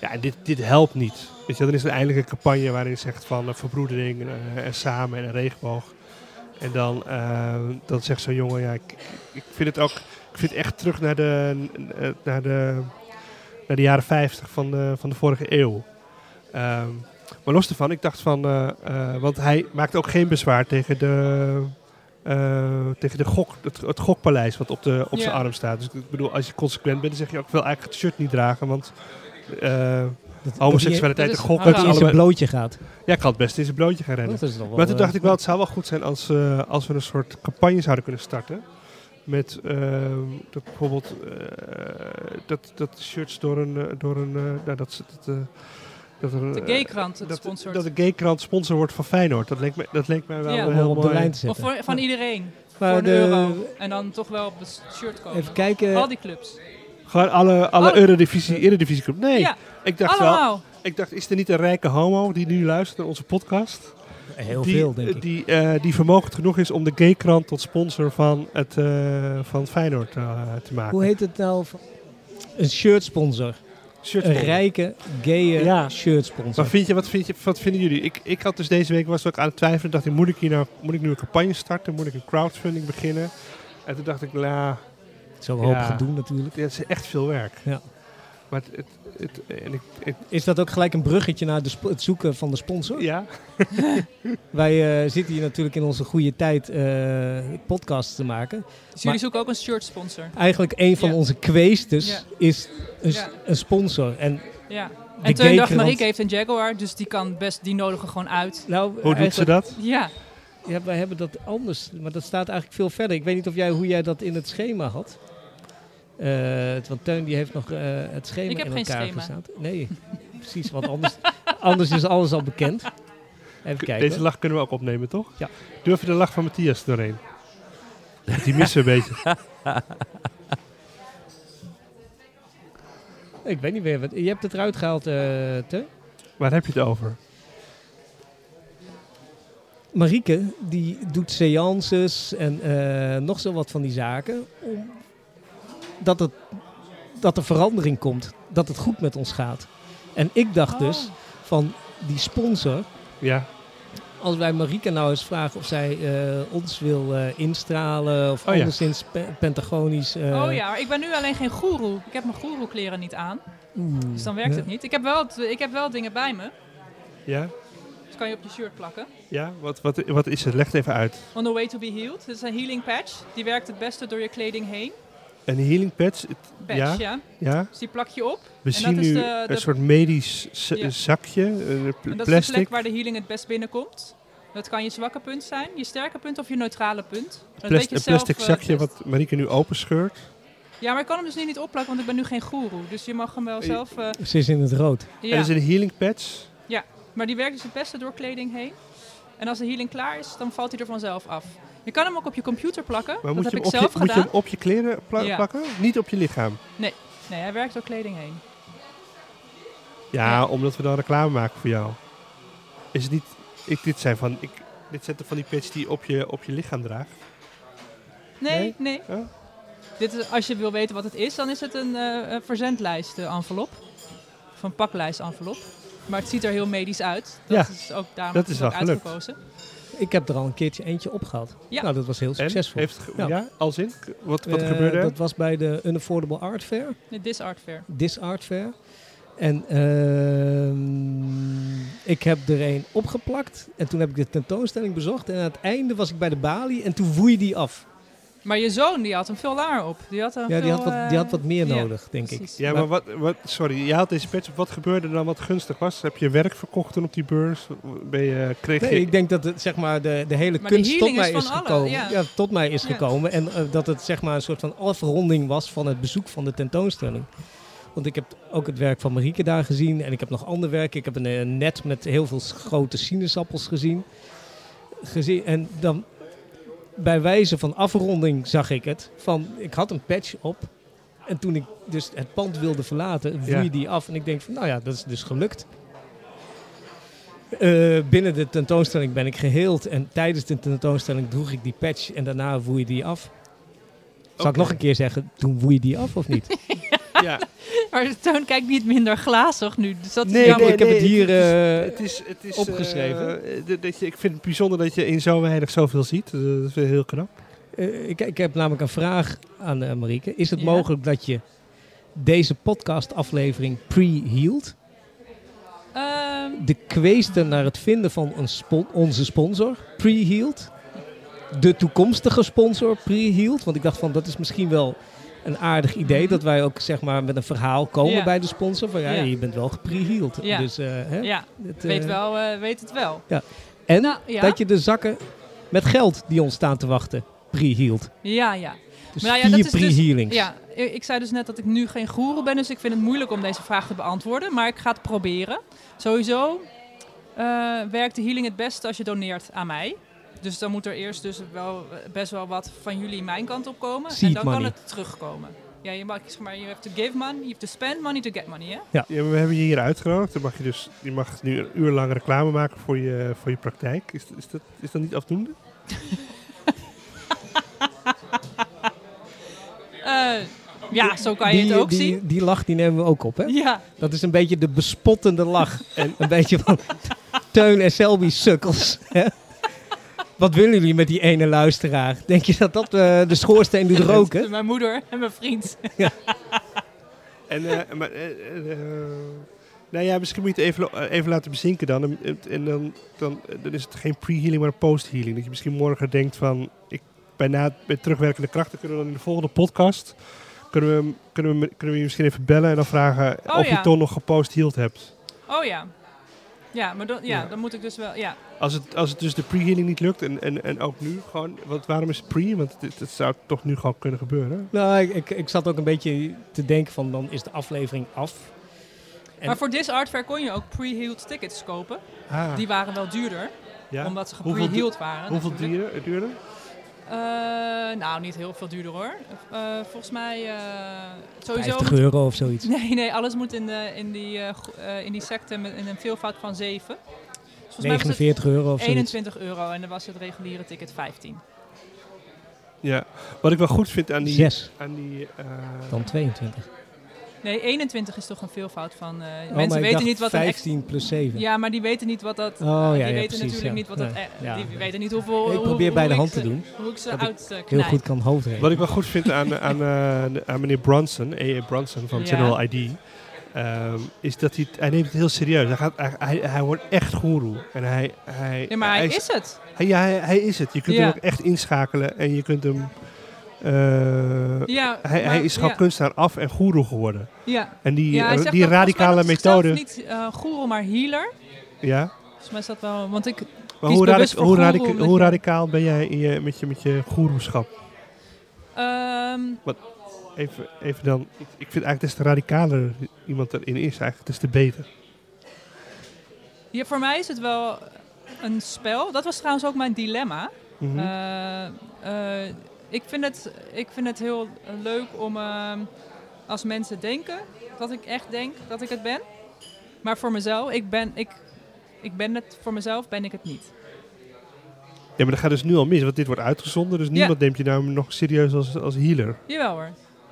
S1: Ja, en dit, dit helpt niet. Weet je, dan is er eindelijk een campagne waarin je zegt van eh, verbroedering eh, en samen en een regenboog. En dan, eh, dan zegt zo'n jongen, ja, ik, ik vind het ook, ik vind echt terug naar de, eh, naar de, naar de jaren 50 van de, van de vorige eeuw. Ehm, maar los daarvan, ik dacht van, eh, eh, want hij maakt ook geen bezwaar tegen de, eh, tegen de gok, het, het gokpaleis wat op, de, op zijn
S2: Ja.
S1: arm staat. Dus ik bedoel, als je consequent bent, dan zeg je ook, ik wil eigenlijk het shirt niet dragen, want eh,
S3: Dat,
S1: homoseksualiteit en
S2: dat is-
S1: gokken.
S2: dat
S3: Dat
S1: is
S3: hij in zijn
S1: allebei-
S3: blootje gaat.
S1: Ja, ik kan het best in zijn blootje gaan rennen.
S3: Dat is nog wel,
S1: Maar toen
S3: eh,
S1: dacht ik wel, het zou wel goed zijn als, eh, als we een soort campagne zouden kunnen starten. Met ehm, dat bijvoorbeeld eh, dat, dat shirts door een. eh, Door een eh, nou, dat, ze- dat, eh, dat er,
S2: de
S1: eh,
S2: gaykrant het
S1: dat,
S2: sponsort.
S1: dat de gaykrant sponsor wordt van Feyenoord. Dat leek mij, dat leek mij wel
S2: Ja.
S1: eh,
S3: om hem
S1: heel
S3: op
S1: mooi.
S3: de lijn te
S2: of
S3: zetten.
S2: voor, van iedereen,
S3: Maar
S2: voor een
S3: de-
S2: euro. En dan toch wel op het shirt komen.
S3: Even
S1: eh,
S3: kijken.
S2: Al die clubs.
S1: Gewoon alle, alle
S2: Oh.
S1: Eredivisie, Eredivisieclub. Nee,
S2: ja,
S1: ik dacht wel.
S2: allemaal.
S1: Ik dacht, is er niet een rijke homo die nu luistert naar onze podcast?
S3: Heel
S1: die,
S3: veel, denk ik.
S1: Die, eh, die vermogend genoeg is om de gaykrant tot sponsor van, het, eh, van Feyenoord eh, te maken.
S3: Hoe heet het nou? Een shirt sponsor.
S1: Shirt
S3: Een
S1: sponsor.
S3: rijke, gaye
S1: Ja.
S3: shirt sponsor.
S1: Maar vind je, wat, vind je, wat vinden jullie? Ik, ik had dus deze week was ook aan het twijfelen. Dacht ik, moet ik, hier nou, moet ik nu een campagne starten? Moet ik een crowdfunding beginnen? En toen dacht ik, nou,
S3: Zo'n hoop
S1: Ja.
S3: gedoe natuurlijk.
S1: dit is echt veel werk.
S3: Ja.
S1: Maar het, het, het- en ik, ik-
S3: Is dat ook gelijk een bruggetje naar de sp- het zoeken van de sponsor?
S1: ja,
S3: Wij eh, zitten hier natuurlijk in onze goede tijd eh, podcasts te maken.
S2: Dus jullie zoeken ook een shirt sponsor.
S3: Eigenlijk een van
S2: Ja.
S3: onze kweestes
S2: Ja.
S3: is een, s-
S2: Ja.
S3: een sponsor. En
S2: Ja.
S3: De
S2: En Teun dacht,
S3: gaykrant.
S2: Marieke heeft een Jaguar, dus die kan best, die nodigen gewoon uit.
S3: nou,
S1: hoe doet ze dat?
S2: Ja,
S3: Ja, wij hebben dat anders, maar dat staat eigenlijk veel verder. Ik weet niet of jij, hoe jij dat in het schema had. Eh, want Teun die heeft nog eh, het schema
S2: Ik heb
S3: in
S2: geen
S3: elkaar
S2: schema.
S3: gestaan. Nee, precies, want anders, anders is alles al bekend. Even kijken.
S1: Deze lach kunnen we ook opnemen, toch?
S3: Ja.
S1: Durf je de lach van Matthias er doorheen? Die missen we een beetje.
S3: Ik weet niet meer, wat, je hebt het eruit gehaald, eh Teun.
S1: Waar heb je het over?
S3: Marieke die doet seances en eh, nog zo wat van die zaken. Om dat, het, dat er verandering komt. Dat het goed met ons gaat. En ik dacht
S2: Oh.
S3: dus van die sponsor,
S1: Ja.
S3: als wij Marika nou eens vragen of zij eh, ons wil eh, instralen of
S1: Oh ja.
S3: anderszins pe- pentagonisch. eh,
S2: oh ja, maar ik ben nu alleen geen goeroe. Ik heb mijn goeroe-kleren niet aan.
S3: oeh,
S2: Dus dan werkt
S3: ja.
S2: het niet. Ik heb, wel, het- ik heb wel dingen bij me.
S1: Ja.
S2: Dus kan je op je shirt plakken.
S1: Ja, wat, wat, wat is het? Leg het even uit.
S2: On the way to be healed. Dit is een healing patch. Die werkt het beste door je kleding heen.
S1: Een healing patch. het-
S2: Patch,
S1: Ja.
S2: ja.
S1: ja.
S2: Dus die plak je op.
S1: We
S2: dat
S1: zien
S2: is
S1: nu
S2: de-
S1: een
S2: de-
S1: soort medisch z-
S2: Ja.
S1: zakje, een pl-
S2: En dat is de
S1: plastic.
S2: plek waar de healing het best binnenkomt. Dat kan je zwakke punt zijn, je sterke punt of je neutrale punt. Dat
S1: Plas-
S2: weet je
S1: een
S2: zelf,
S1: plastic
S2: eh,
S1: zakje
S2: best.
S1: wat Marieke nu openscheurt.
S2: Ja, maar ik kan hem dus nu niet opplakken, want ik ben nu geen goeroe. Dus je mag hem wel
S1: Eh,
S2: zelf... eh,
S3: Ze is in het rood.
S1: Er
S2: ja.
S1: is een healing patch.
S2: Maar die werkt dus het beste door kleding heen. En als de healing klaar is, dan valt hij er vanzelf af. Je kan hem ook op je computer plakken.
S1: Maar
S2: dat
S1: moet,
S2: heb
S1: je hem
S2: ik
S1: op
S2: zelf
S1: je, moet je
S2: gedaan.
S1: hem op je kleren pla-
S2: Ja.
S1: plakken? Niet op je lichaam.
S2: Nee, hij werkt door kleding heen.
S1: Ja,
S2: Ja.
S1: omdat we dan reclame maken voor jou. Is het niet... Ik, dit zijn van... Ik, dit zijn toch van die patch die je op je, op je lichaam draagt?
S2: Nee,
S1: Nee?
S2: nee.
S1: Oh.
S2: Dit is, als je wil weten wat het is, dan is het een eh, eh, verzendlijst eh, envelop. Of een paklijst envelop. Maar het ziet er heel medisch uit. Dat
S1: Ja,
S2: is ook daarom
S1: dat
S2: is
S1: is
S2: het ook
S1: wel gelukt.
S2: uitgekozen.
S3: Ik heb er al een keertje eentje op gehad.
S2: Ja.
S3: Nou, dat was heel
S1: En?
S3: succesvol.
S1: Heeft, ge- ja.
S3: Ja.
S1: als in? K- Wat, wat
S3: Eh,
S1: gebeurde er?
S3: Dat was bij de Unaffordable Art Fair.
S2: De Disart Fair.
S3: This Art Fair. En ehm, ik heb er een opgeplakt. En toen heb ik de tentoonstelling bezocht. En aan het einde was ik bij de balie. En toen woei die af.
S2: Maar je zoon die had hem veel langer op. Die had hem
S3: Ja, die
S2: veel,
S3: had wat,
S2: eh,
S3: die had wat meer
S2: ja,
S3: nodig, denk ik.
S2: precies.
S1: Ja, maar wat, wat... Sorry, je had deze patch op. Wat gebeurde er dan wat gunstig was? Heb je werk verkocht toen op die beurs? Ben je... Kreeg
S3: Nee,
S1: je...
S3: ik denk dat het, zeg maar, de, de hele
S2: Maar de
S3: kunst tot
S2: healing
S3: mij
S2: is
S3: is,
S2: van allen,
S3: gekomen.
S2: ja.
S3: tot mij is
S2: Ja.
S3: gekomen. En eh, dat het zeg maar, een soort van afronding was van het bezoek van de tentoonstelling. Want ik heb ook het werk van Marieke daar gezien. En ik heb nog ander werk. Ik heb een, eh, net met heel veel s- grote sinaasappels gezien. gezien. En dan bij wijze van afronding zag ik het. Van, ik had een patch op. En toen ik dus het pand wilde verlaten, woei
S1: Ja.
S3: die af. En ik denk van, nou ja, dat is dus gelukt. Eh, binnen de tentoonstelling ben ik geheeld. En tijdens de tentoonstelling droeg ik die patch. En daarna woei die af. Zal ik
S1: Oké.
S3: nog een keer zeggen, toen woei die af of niet?
S1: Ja.
S2: Maar de toon kijkt niet minder glazig nu. Dus dat is
S1: Nee,
S2: jammer.
S1: nee,
S3: ik heb het hier... eh,
S1: Het is, het is
S3: Opgeschreven.
S1: eh, d- dat je, ik vind het bijzonder dat je in zo weinig zoveel ziet. Dat is heel knap.
S3: Eh, ik, ik heb namelijk een vraag aan eh, Marieke. Is het
S2: Ja?
S3: mogelijk dat je deze podcastaflevering pre-hield?
S2: Ehm,
S3: De kweesten naar het vinden van een spon- onze sponsor pre-hield? De toekomstige sponsor pre-hield? Want ik dacht van dat is misschien wel een aardig idee.
S2: Mhm.
S3: Dat wij ook zeg maar met een verhaal komen
S2: Ja.
S3: bij de sponsor. Van ja,
S2: Ja.
S3: je bent wel gepre-hield.
S2: Ja.
S3: Dus, eh, hè,
S2: ja,
S3: het, eh,
S2: weet, wel, eh, weet het wel.
S3: En
S2: Nou, ja.
S3: dat je de zakken met geld die ons staan te wachten pre-hield.
S2: ja, ja.
S3: Dus
S2: Nou ja, dat
S3: vier
S2: is dus-
S3: pre-healings.
S2: Ja, i- ik zei dus net dat ik nu geen goeroe ben, dus ik vind het moeilijk om deze vraag te beantwoorden. Maar ik ga het proberen. Sowieso eh, werkt de healing het beste als je doneert aan mij. Dus dan moet er eerst dus wel, eh, best wel wat van jullie mijn kant op komen.
S3: Seed
S2: en dan
S3: money.
S2: kan het terugkomen. Ja, je mag, zeg maar, you have to give money, you have to spend money to get money, hè?
S1: Ja, maar we hebben je hier uitgenodigd. Dan mag je, dus, je mag nu een uur lang reclame maken voor je, voor je praktijk. Is, is, dat, is dat niet afdoende?
S2: Eh, ja, zo kan je
S3: die,
S2: het ook
S3: die,
S2: zien.
S3: Die lach die nemen we ook op, hè?
S2: Ja,
S3: Dat is een beetje de bespottende lach. en een beetje van Teun en Selby sukkels. hè? Wat willen jullie met die ene luisteraar? Denk je dat dat eh, de schoorsteen doet roken?
S2: mijn moeder en mijn vriend.
S1: En, eh, maar, eh, eh, eh, nou ja, misschien moet je het even, eh, even laten bezinken dan. En, en- en dan, dan, eh, dan is het geen pre-healing, maar een post-healing. Dat je misschien morgen denkt van... Ik, bijna met terugwerkende krachten kunnen we dan in de volgende podcast... Kunnen we, hem- kunnen we, hem- kunnen we je misschien even bellen en dan vragen
S2: Oh,
S1: of je
S2: ja.
S1: toch nog gepost-healed hebt.
S2: Oh ja. Ja, maar dan, ja,
S1: Ja.
S2: dan moet ik dus wel... Ja,
S1: Als het, als het dus de pre-healing niet lukt en, en, en ook nu gewoon... Want waarom is het pre? Want het, het zou toch nu gewoon kunnen gebeuren.
S3: Nou, ik, ik, ik zat ook een beetje te denken van dan is de aflevering af. En-
S2: maar voor This Art Fair kon je ook pre-healed tickets kopen.
S1: Ah,
S2: Die waren wel duurder,
S1: ja.
S2: omdat ze
S1: Hoeveel
S2: gepre-healed waren.
S1: Hoeveel
S2: natuurlijk.
S1: dieren, duurde?
S2: Eh, nou, niet heel veel duurder hoor. Eh, volgens mij eh, sowieso...
S3: 50 euro of zoiets.
S2: Nee, nee, alles moet in, de, in, die, eh, go- eh, in die secte met in een veelvoud van 7. volgens mij was het
S3: 49 euro of zoiets.
S2: 21 euro en dan was het reguliere ticket 15.
S1: Ja. Wat ik wel goed vind aan die...
S3: 6,
S1: aan die eh,
S3: dan 22.
S2: Nee, 21 is toch een veelvoud van. eh,
S3: Oh, maar
S2: mensen
S3: ik
S2: weten
S3: dacht
S2: niet wat een ex-
S3: 15 plus 7.
S2: Ja, maar die weten niet wat dat.
S3: Oh, ja,
S2: die
S3: ja,
S2: weten
S3: precies,
S2: natuurlijk
S3: ja.
S2: niet wat dat.
S3: Nee,
S2: eh,
S3: ja.
S2: die weten niet hoeveel.
S3: Ik
S2: hoe-
S3: probeer
S2: hoe
S3: bij de
S2: ik
S3: hand
S2: ze-
S3: te doen.
S2: Hoe ik ze
S3: Dat ik
S2: uit eh,
S3: Heel
S2: knijp.
S3: goed kan hoofdrekenen.
S1: Wat ik wel goed vind aan, aan, eh, aan meneer Bronson, E.A. Bronson van
S2: Ja.
S1: General ID, ehm, is dat hij, het- hij neemt het heel serieus. Hij, gaat, hij, hij, hij wordt echt goeroe. En hij, hij,
S2: Nee, maar hij
S1: is,
S2: is het.
S1: hij- ja, hij, hij is het. Je kunt
S2: Ja.
S1: hem ook echt inschakelen en je kunt hem... eh,
S2: Ja,
S1: hij, hij
S2: maar-
S1: is gewoon
S2: ja,
S1: kunstenaar af en goeroe geworden.
S2: Ja.
S1: En die,
S2: Ja, hij
S1: eh,
S2: zegt
S1: die
S2: ook, volgens mij
S1: radicale
S2: noemt zichzelf
S1: methode...
S2: niet eh goeroe, maar healer.
S1: Ja?
S2: Volgens mij is dat wel. Want ik,
S1: Maar
S2: Kies
S1: hoe,
S2: bewust
S1: radic-
S2: voor
S1: hoe,
S2: goeroe,
S1: radic-
S2: omdat
S1: hoe
S2: je-
S1: radicaal ben jij in je, met je, met je goeroeschap?
S2: ehm,
S1: Even, even dan, ik, ik vind eigenlijk des te radicaler iemand erin is, eigenlijk des te beter.
S2: ja, voor mij is het wel een spel. Dat was trouwens ook mijn dilemma.
S1: Mhm.
S2: Eh, eh, ik, vind het, ik vind het heel leuk om ehm, als mensen denken dat ik echt denk dat ik het ben. Maar voor mezelf, ik ben, ik, ik ben het voor mezelf, ben ik het niet.
S1: Ja, maar dat gaat dus nu al mis, want dit wordt uitgezonden. Dus niemand neemt je nou nog serieus als, als healer.
S2: Jawel hoor.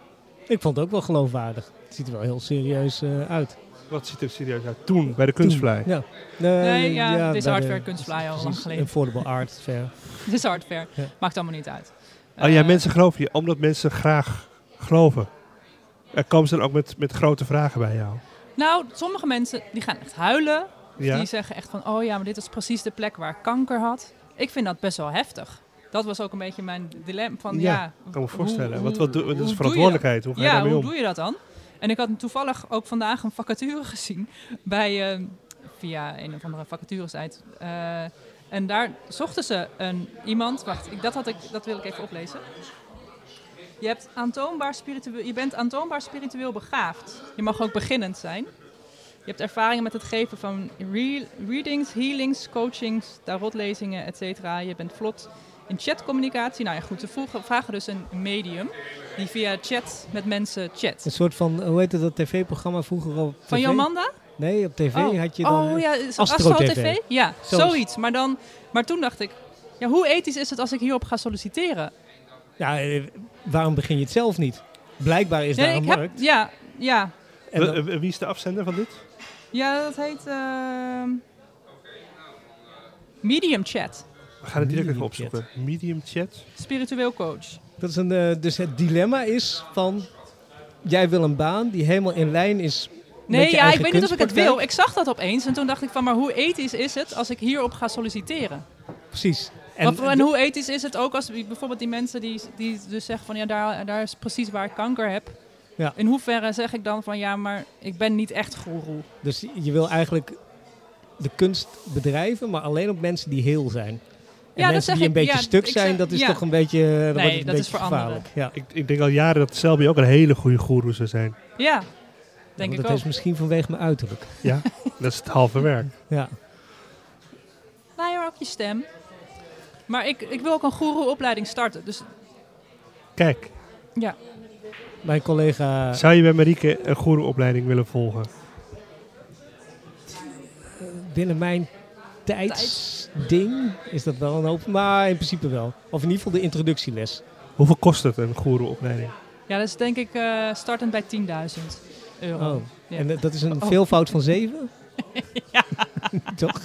S3: Ik vond het ook wel geloofwaardig. Het ziet er wel heel serieus eh, uit.
S1: Wat ziet er serieus uit? Toen, bij de kunstvlij.
S3: Ja.
S2: Nee, ja, dit is
S3: bij de-
S2: hardware kunstfly al lang
S3: precies,
S2: geleden.
S3: Affordable art fair.
S2: Het is hardware.
S3: Ja.
S2: Maakt allemaal niet uit.
S1: Oh ja,
S2: Eh,
S1: mensen geloven je, omdat mensen graag geloven. Er komen ze dan ook met, met grote vragen bij jou.
S2: Nou, sommige mensen die gaan echt huilen.
S1: Ja,
S2: Die zeggen echt van, oh ja, maar dit is precies de plek waar ik kanker had. Ik vind dat best wel heftig. Dat was ook een beetje mijn dilemma van,
S1: Ja,
S2: ja...
S1: kan me
S2: hoe-
S1: voorstellen.
S2: hoe-
S1: Want wat doe,
S2: hoe
S1: dat
S2: doe
S1: is
S2: je
S1: verantwoordelijkheid. Hoe ga je
S2: ja,
S1: daarmee
S2: hoe
S1: om?
S2: doe je dat dan? En ik had toevallig ook vandaag een vacature gezien bij, eh, via een of andere vacaturesite. Eh, en daar zochten ze een, iemand, wacht, ik, dat, had ik, dat wil ik even oplezen. Je, hebt aantoonbaar spiritueel, je bent aantoonbaar spiritueel begaafd. Je mag ook beginnend zijn. Je hebt ervaringen met het geven van re- readings, healings, coachings, tarotlezingen, et cetera. Je bent vlot in chatcommunicatie. Nou ja, goed, ze vroegen, vragen dus een medium die via chat met mensen
S3: Een
S2: chat.
S3: soort van, hoe heette dat tv-programma vroeger al?
S2: Van Jomanda?
S3: Nee, op tv
S2: Oh,
S3: had je dan...
S2: oh ja, is
S3: Astro
S2: Astro
S3: TV.
S2: TV? Ja,
S3: Zoiets.
S2: zoiets. Maar, dan, maar toen dacht ik, ja, hoe ethisch is het als ik hierop ga solliciteren?
S3: Ja, eh, waarom begin je het zelf niet? Blijkbaar is daar een
S2: ik heb-
S3: markt.
S2: ja, ja,
S3: En
S1: Wa-
S3: dan-
S1: eh, Wie is de afzender van dit?
S2: ja, dat heet ehm, Medium Chat,
S1: We gaan het direct even
S3: Medium
S1: opzoeken. Medium chat.
S2: spiritueel coach.
S3: dat is een, eh, dus het dilemma is van, jij wil een baan die helemaal in lijn is met
S2: Nee,
S3: je
S2: ja, ik
S3: eigen
S2: weet niet of ik het wil.
S3: kunstpraktijk.
S2: Ik zag dat opeens en toen dacht ik van, maar hoe ethisch is het als ik hierop ga solliciteren?
S3: Precies.
S2: En, en, hoe ethisch is het ook als die- bijvoorbeeld die mensen die, die dus zeggen van, ja, daar, daar is precies waar ik kanker heb.
S3: Ja.
S2: In hoeverre zeg ik dan van, ja, maar ik ben niet echt goeroe.
S3: Dus je wil eigenlijk de kunst bedrijven, maar alleen op mensen die heel zijn. En
S2: dat
S3: mensen
S2: zeg
S3: die een
S2: ik,
S3: beetje
S2: ja,
S3: stuk
S2: ik
S3: zijn,
S2: zeg-
S3: dat is
S2: ja.
S3: toch een beetje, dan wordt het een
S2: dat
S3: beetje
S2: is voor
S3: gevaarlijk. Ja.
S1: Ik, ik denk al jaren dat Selby ook een hele goede goeroe zou zijn.
S2: Ja,
S3: Ja,
S2: denk
S3: maar
S2: ik
S3: dat
S2: ook.
S3: is misschien vanwege mijn uiterlijk.
S1: Ja, dat is het halve werk.
S3: Ja.
S2: Nou ja, maar ook je stem. Maar ik, ik wil ook een goeroe-opleiding starten. Dus
S1: Kijk,
S2: ja,
S3: Mijn collega,
S1: zou je bij Marieke een goeroeopleiding willen volgen?
S3: binnen mijn tijdsding is dat wel een hoop, maar in principe wel. Of in ieder geval de introductieles.
S1: Hoeveel kost het, een goeroeopleiding?
S2: ja dat is denk ik eh, startend bij 10.000 euro.
S3: Oh.
S2: Ja.
S3: En dat- dat is een
S2: Oh.
S3: veelvoud van zeven? toch?